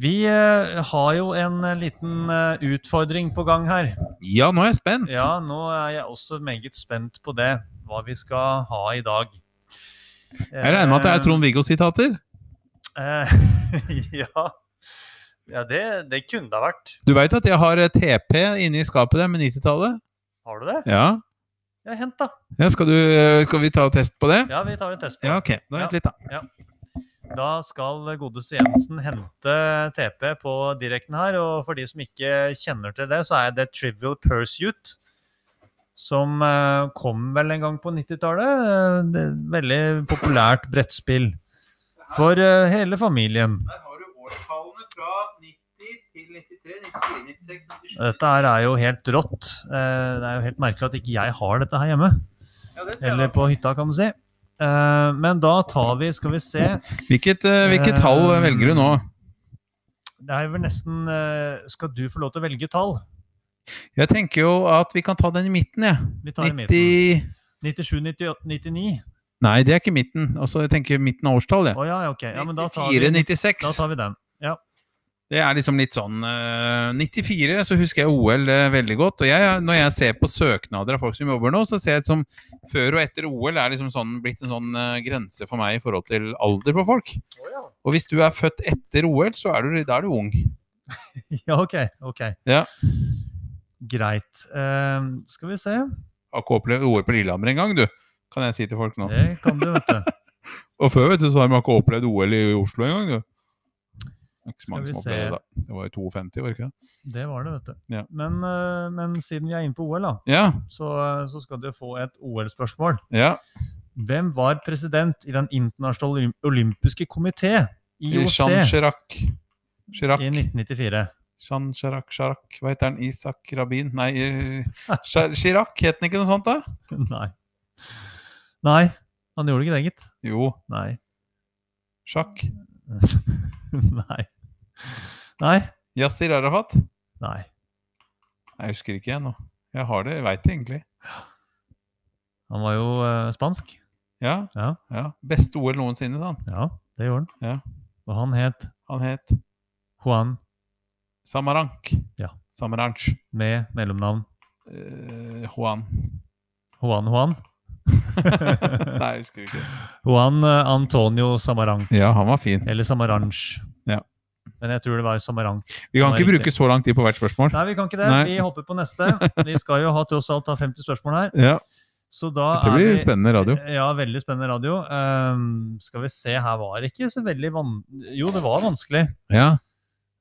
S2: Vi eh, har jo en eh, liten eh, utfordring på gang her.
S1: Ja, nå er jeg spent.
S2: Ja, nå er jeg også meget spent på det. Hva vi skal ha i dag.
S1: Jeg regner med at det
S2: Eh.
S1: er Trond-Viggo sitater.
S2: ja. Ja, det, det kunne det ha vært.
S1: Du veit at jeg har eh, TP inne i skapet der med 90-tallet?
S2: Har du det?
S1: Ja.
S2: Ja, hent, da.
S1: ja skal, du, eh, skal vi ta test på det?
S2: Ja, vi tar en test på det.
S1: Ja, ok. Da Vent litt, da.
S2: Da skal Godeste Jensen hente TP på direkten her. Og for de som ikke kjenner til det, så er det Trivial Pursuit. Som eh, kom vel en gang på 90-tallet. Eh, det er et Veldig populært brettspill. For eh, hele familien.
S1: Der har du årstallene fra 90 til 93, 94, 96,
S2: Dette her er jo helt rått. Eh, det er jo helt merkelig at ikke jeg har dette her hjemme. Eller på hytta, kan du si. Eh, men da tar vi, skal vi se
S1: Hvilket, eh, hvilket tall eh, velger du nå?
S2: Det er vel nesten eh, Skal du få lov til å velge tall?
S1: Jeg tenker jo at vi kan ta den i midten, jeg.
S2: Vi tar i 90...
S1: 90
S2: 97, 98, 99?
S1: Nei, det er ikke midten. Altså, jeg tenker midten av årstall,
S2: Å
S1: jeg.
S2: ja, ok. Ja, men da tar, vi, da
S1: 94-96.
S2: tar vi den. Ja.
S1: Det er liksom litt sånn eh, 94 så husker jeg OL eh, veldig godt. Og jeg, når jeg ser på søknader av folk som jobber nå, så ser jeg som før og etter OL er liksom sånn, blitt en sånn eh, grense for meg i forhold til alder på folk.
S2: Å ja.
S1: Og hvis du er født etter OL, så er du, da er du ung.
S2: ja, ok. ok.
S1: Ja.
S2: Greit. Ehm, skal vi se.
S1: Har ikke opplevd OL på Lillehammer engang, du. Kan jeg si til folk nå.
S2: Det kan du, vet du.
S1: Og før vet du, så har man ikke opplevd OL i Oslo engang, du. Det er Ikke så
S2: Skal
S1: mange
S2: vi
S1: som
S2: se.
S1: opplevde det da. Det var jo 52, var det ikke det?
S2: Det var det, vet du.
S1: Ja.
S2: Men, eh, men siden vi er inne på OL, da,
S1: Ja.
S2: så, eh, så skal du få et OL-spørsmål.
S1: ja.
S2: Hvem var president i Den internasjonale olym- olympiske komité,
S1: Jean
S2: IOC,
S1: Chirac. Chirac.
S2: i 1994?
S1: Jean Chirac, Chirac. Hva heter han? Isak Rabin? Nei, eh, Chi- Chirac het han ikke noe sånt, da?
S2: Nei. Nei, han gjorde ikke det, gitt.
S1: Jo.
S2: Nei.
S1: Sjakk.
S2: Nei. Nei.
S1: Yasir Arafat?
S2: Nei.
S1: Jeg husker ikke jeg nå. Jeg har det, jeg veit det egentlig.
S2: Han var jo eh, spansk.
S1: Ja.
S2: Ja.
S1: ja. Beste OL noensinne, sa han.
S2: Ja, det gjorde han.
S1: Ja.
S2: Og han het
S1: Han het
S2: Juan
S1: Samarank.
S2: Ja.
S1: Samaranch.
S2: med mellomnavn
S1: Eh, Juan.
S2: Juan Juan.
S1: Nei, jeg husker ikke.
S2: Juan eh, Antonio Samaranch.
S1: Ja, han var fin.
S2: Eller Samaranch.
S1: Ja.
S2: Men jeg tror det var Samaranch.
S1: Vi kan
S2: var
S1: ikke
S2: riktig.
S1: bruke så lang tid på hvert spørsmål.
S2: Nei, vi kan ikke det.
S1: Nei.
S2: Vi hopper på neste. Vi skal jo ha tross alt ha 50 spørsmål her.
S1: Ja,
S2: Så da
S1: Dette
S2: er
S1: blir
S2: vi
S1: spennende radio.
S2: Ja, veldig spennende radio. Ehm, skal vi se, her var det ikke så veldig van... Jo, det var vanskelig.
S1: Ja,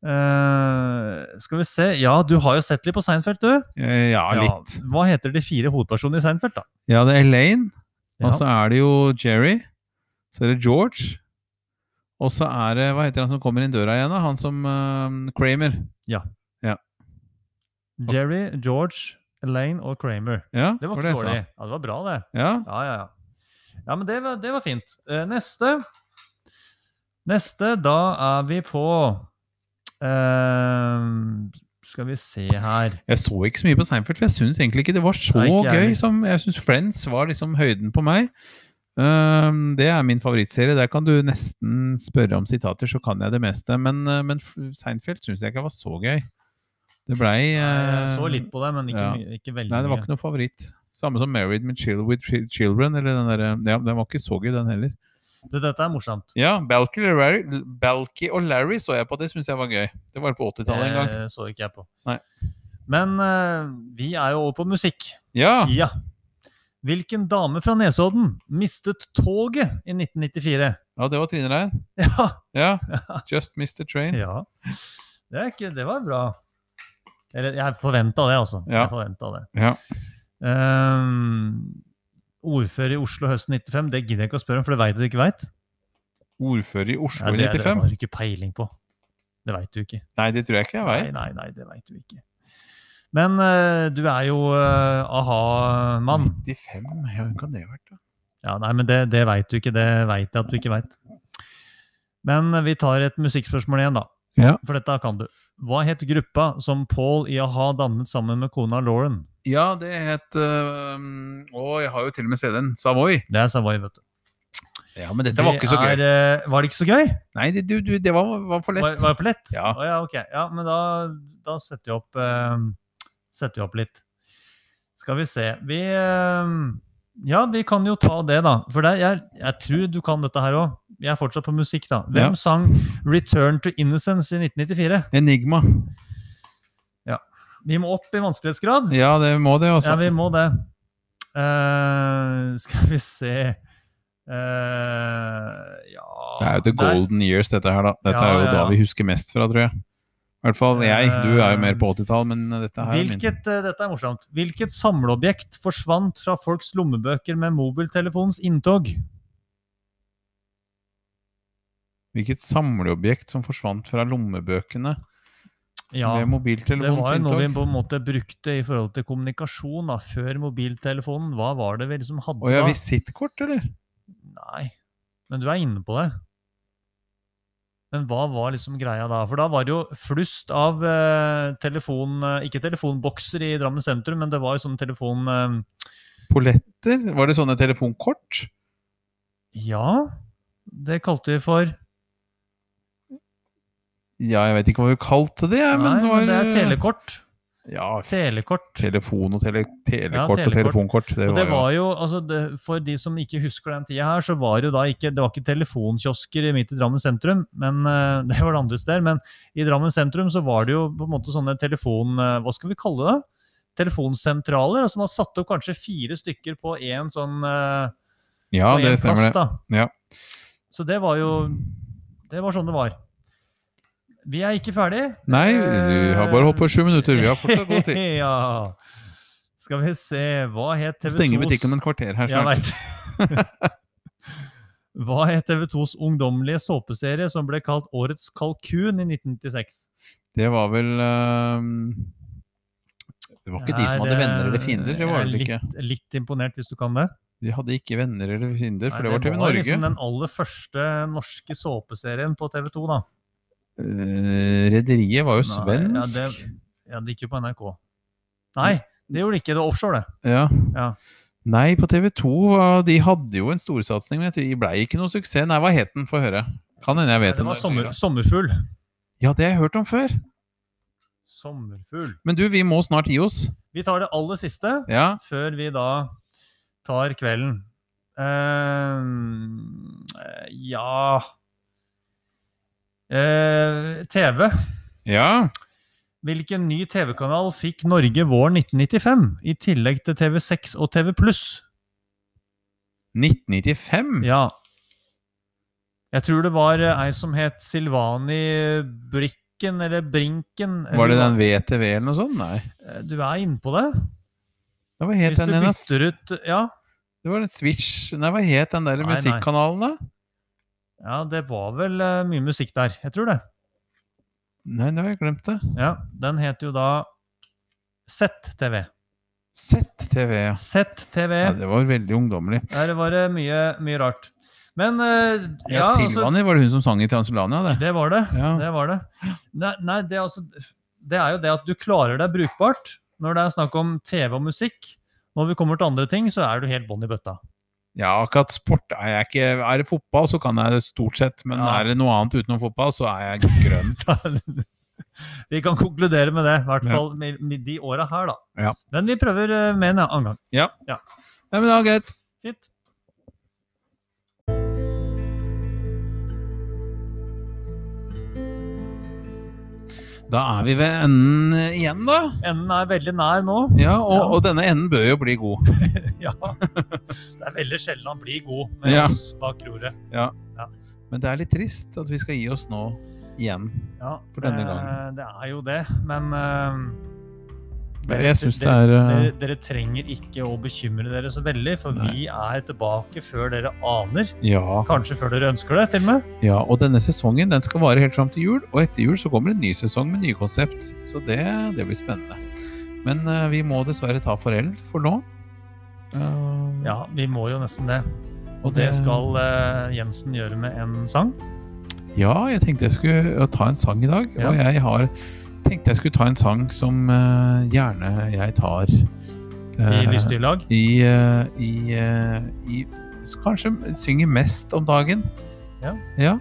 S2: Eh, skal vi se Ja, du har jo sett litt på Seinfeld, du.
S1: Eh, ja litt.
S2: Hva heter de fire hovedpersonene i Seinfeld, da?
S1: Ja, det er Elaine, og
S2: Ja.
S1: så er det jo Jerry. Så er det George. Og så er det Hva heter han som kommer inn døra igjen? da? Han som eh, Kramer.
S2: Jerry, George, Elaine og Kramer.
S1: Ja,
S2: Det var ikke
S1: jeg sa.
S2: dårlig. Ja, det var bra, det.
S1: Ja,
S2: Ja, ja, ja. Ja, men det var, det var fint. Eh, neste. Neste, da er vi på eh, Skal vi se her
S1: jeg så ikke så mye på Seinfeld, for jeg syns egentlig ikke det var så
S2: Nei, ikke jeg
S1: gøy.
S2: heller.
S1: som Jeg syns Friends var liksom høyden på meg. Ehm, det er min favorittserie. Der kan du nesten spørre om sitater, så kan jeg det meste. Men, eh, men F- Seinfeld syns jeg ikke var så gøy. Det blei
S2: Jeg
S1: eh,
S2: så litt på det, men ikke,
S1: ja.
S2: mye- ikke veldig
S1: Nei, det var
S2: mye.
S1: ikke noe favoritt. Samme som Married with, Chil with Chil- Children. Eller den der, ja, den var ikke så gøy, den heller.
S2: Du, dette er morsomt.
S1: Ja, Balky og Larry, Balky og Larry så jeg på. Det syns jeg var gøy. Det var på 80-tallet en gang.
S2: Det så ikke jeg på.
S1: Nei.
S2: Men eh, vi er jo over på musikk.
S1: Ja!
S2: Ja. Hvilken dame fra Nesodden mistet toget i 1994?
S1: ja, det var Trine Rein.
S2: Ja,
S1: Ja. Just Missed the Train.
S2: ja. Det, er ikke, det var bra. Eller, jeg forventa det, altså.
S1: Ja.
S2: Jeg forventet det.
S1: Ja.
S2: Ehm, ordfører i Oslo høsten 95, det gidder jeg ikke å spørre om, for det veit du ikke veit.
S1: Ordfører i Oslo
S2: Det,
S1: i
S2: det har
S1: 95?
S2: du ikke peiling på. Det veit du ikke.
S1: Nei, det tror jeg ikke jeg
S2: Nei,
S1: veit.
S2: nei, nei, det veit du ikke. Men eh, du er jo eh, a-ha-mann.
S1: 95? Ja, hvem kan det ha vært, da?
S2: Ja, nei, men det, det veit du ikke. Det veit jeg at du ikke veit. Men vi tar et musikkspørsmål igjen, da.
S1: Ja.
S2: For dette kan du. Hva het gruppa som Paul i a-ha dannet sammen med kona Lauren?
S1: Ja, det het øhm, Å, jeg har jo til og med CD-en. Savoy.
S2: Det er Savoy, vet du.
S1: Ja, men dette var
S2: Det
S1: ikke så
S2: er,
S1: gøy.
S2: eh, Var det ikke så gøy?
S1: Nei, det, du, du, det var, var for
S2: Var,
S1: lett.
S2: var det for lett?
S1: Ja.
S2: Å ja, ok. Ja, men da, da setter vi opp eh, Setter vi opp litt. Skal vi se. Vi eh, Ja, vi kan jo ta det, da. For det, jeg, jeg tror du kan dette her òg. Jeg er fortsatt på musikk, da.
S1: Ja.
S2: Hvem sang 'Return to Innocence' i 1994?
S1: Enigma.
S2: Vi må opp i vanskelighetsgrad.
S1: Ja, det må det,
S2: Ja,
S1: altså.
S2: vi må det. Eh, skal vi se Eh, Ja
S1: Det er jo the
S2: der-
S1: golden years, dette her, da. Dette
S2: Ah, Ja,
S1: er jo
S2: ja, ja.
S1: da vi husker mest fra, tror jeg. I hvert fall jeg. Du er jo mer på 80-tall, men dette her er min.
S2: Eh, Hvilket, eh, dette er morsomt. Hvilket samleobjekt forsvant fra folks lommebøker med mobiltelefonens inntog?
S1: Hvilket samleobjekt som forsvant fra lommebøkene
S2: Ja,
S1: ved
S2: det
S1: mobiltelefonens
S2: var jo noe vi på
S1: inntog?
S2: en måte brukte i forhold til kommunikasjon da, før mobiltelefonen. Hva var det vi liksom hadde
S1: Å ja,
S2: da?
S1: visittkort, eller?
S2: Nei, men du er inne på det. Men hva var liksom greia da? For da var det jo flust av eh, telefon... Eh, ikke telefonbokser i Drammen sentrum, men det var jo sånn telefon... Eh,
S1: Polletter? Var det sånne telefonkort?
S2: ja, det kalte vi for...
S1: Ja, jeg vet ikke hva vi kalte det, jeg, men
S2: Nei,
S1: det var
S2: men det er
S1: eh,
S2: telekort.
S1: Ja,
S2: Telekort.
S1: telefon og tele,
S2: Ja,
S1: telekort og
S2: telekort.
S1: telefonkort. Det
S2: Og
S1: var,
S2: det
S1: jo
S2: var jo, altså det, For de som ikke husker den tida her, så var det jo da ikke det var ikke telefonkiosker midt i Drammen sentrum. men eh, Det var det andre steder. Men i Drammen sentrum så var det jo på en måte sånne telefon... eh, Hva skal vi kalle det? Telefonsentraler. Som var satt opp kanskje fire stykker på én sånn eh,
S1: Ja,
S2: på
S1: det
S2: en
S1: stemmer, det.
S2: Da.
S1: Ja.
S2: Så det var jo Det var sånn det var. Vi er ikke ferdig.
S1: Nei, du har bare holdt på i sju minutter. Vi har fortsatt god tid.
S2: ja. Skal vi se Hva het TV2s
S1: Stenger butikken om en kvarter her
S2: Jeg
S1: snart.
S2: vet. Hva het TV2s ungdommelige såpeserie som ble kalt Årets kalkun i 1996?
S1: Det var vel ehm, Det var ikke de som
S2: Er,
S1: hadde venner eller
S2: eh,
S1: fiender. Det var
S2: jeg er
S1: vel ikke.
S2: Litt, litt imponert, hvis du kan det.
S1: De hadde ikke venner eller fiender, for
S2: Nei,
S1: det var TV Norge.
S2: liksom den aller første norske såpeserien på TV2, da.
S1: Eh, Rederiet var jo
S2: Nei,
S1: svensk.
S2: Ja, det, ja, det gikk jo på NRK. Nei, det gjorde det ikke. Det var offshore, det.
S1: Ja.
S2: Ja.
S1: Nei, på TV 2 De hadde jo en storsatsing, men jeg tror- de blei ikke noe suksess. Nei, hva het den? Få høre. Kan hende jeg vet
S2: Det
S1: den.
S2: var sommer, sommerfugl.
S1: Ja, det har jeg hørt om før.
S2: Sommerfugl.
S1: Men du, vi må snart gi oss.
S2: Vi tar det aller siste
S1: Ja.
S2: før vi da tar kvelden. Eh, ja Eh, TV.
S1: Ja.
S2: Hvilken ny TV-kanal fikk Norge våren 1995, i tillegg til TV6 og TV
S1: 1995.
S2: Ja. Jeg tror det var eh, ei som het Silvani Brikken, eller Brinken.
S1: Var det
S2: eller
S1: den VTV eller noe sånt? Nei.
S2: hva- Eh, Du er inne på det.
S1: Det var helt
S2: Hvis
S1: den
S2: du
S1: ene. ass.
S2: bytter ut Ja,
S1: Det var den Switch Nei, hva het den der
S2: Nei, nei.
S1: musikkanalen, da?
S2: ja det var vel eh, mye musikk der. Jeg tror det.
S1: Nei, nå har jeg glemt det.
S2: Ja, Den het jo da ZTV.
S1: ZTV, ja.
S2: ZTV.
S1: ja. Det var veldig ungdommelig.
S2: Der var det mye, mye rart. Men eh,
S1: Ja,
S2: ja, altså,
S1: Silvani, var det hun som sang i Transulania, det?
S2: det var det.
S1: Ja.
S2: Det var det. Nei, nei det, er altså, det er jo det at du klarer deg brukbart når det er snakk om TV og musikk. Når vi kommer til andre ting, så er du helt bånn i bøtta.
S1: Ja, akkurat sport er jeg ikke Er det fotball, så kan jeg det stort sett. Men
S2: Ja.
S1: er det noe annet utenom fotball, så er jeg grønn.
S2: vi kan konkludere med det, i hvert
S1: Ja.
S2: fall med, med de åra her, da.
S1: Ja.
S2: Men vi prøver eh, med en annen gang.
S1: Nei, men det var greit.
S2: Fint.
S1: Da er vi ved enden igjen, da.
S2: Enden er veldig nær nå.
S1: Ja, og,
S2: Ja.
S1: og denne enden bør jo bli god.
S2: Ja. Det er veldig sjelden han blir god med
S1: Ja.
S2: oss bak roret.
S1: Men det er litt trist at vi skal gi oss nå igjen.
S2: Ja,
S1: For denne
S2: det-
S1: gangen.
S2: Det er jo det, men eh,
S1: Men jeg synes det
S2: dere,
S1: er, eh,
S2: dere, dere trenger ikke å bekymre dere så veldig, for vi er tilbake før dere aner.
S1: Ja,
S2: Kanskje før dere ønsker det, til og med.
S1: ja, og denne sesongen den skal vare helt fram til jul. Og etter jul så kommer en ny sesong med nye konsept. Så det, det blir spennende. Men eh, vi må dessverre ta farvel for nå. Eh,
S2: Ja, vi må jo nesten det. Og
S1: Og
S2: det
S1: det-
S2: skal eh, Jensen gjøre med en sang.
S1: Ja, jeg tenkte jeg skulle eh, ta en sang i dag.
S2: Ja.
S1: Og jeg har tenkte jeg skulle ta en sang som eh, gjerne jeg tar
S2: I
S1: eh,
S2: lystyrlag.
S1: i, eh, i, eh, i s- Kanskje synger mest om dagen.
S2: Ja.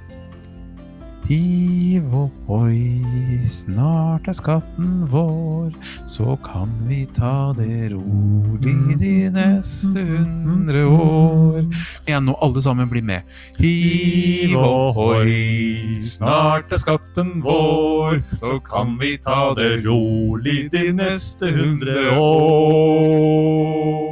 S1: Hiv ohoi, snart er skatten vår, så kan vi ta det rolig de neste hundre år. Igjen nå, alle sammen blir med. Hiv ohoi, snart er skatten vår, så kan vi ta det rolig de neste hundre år.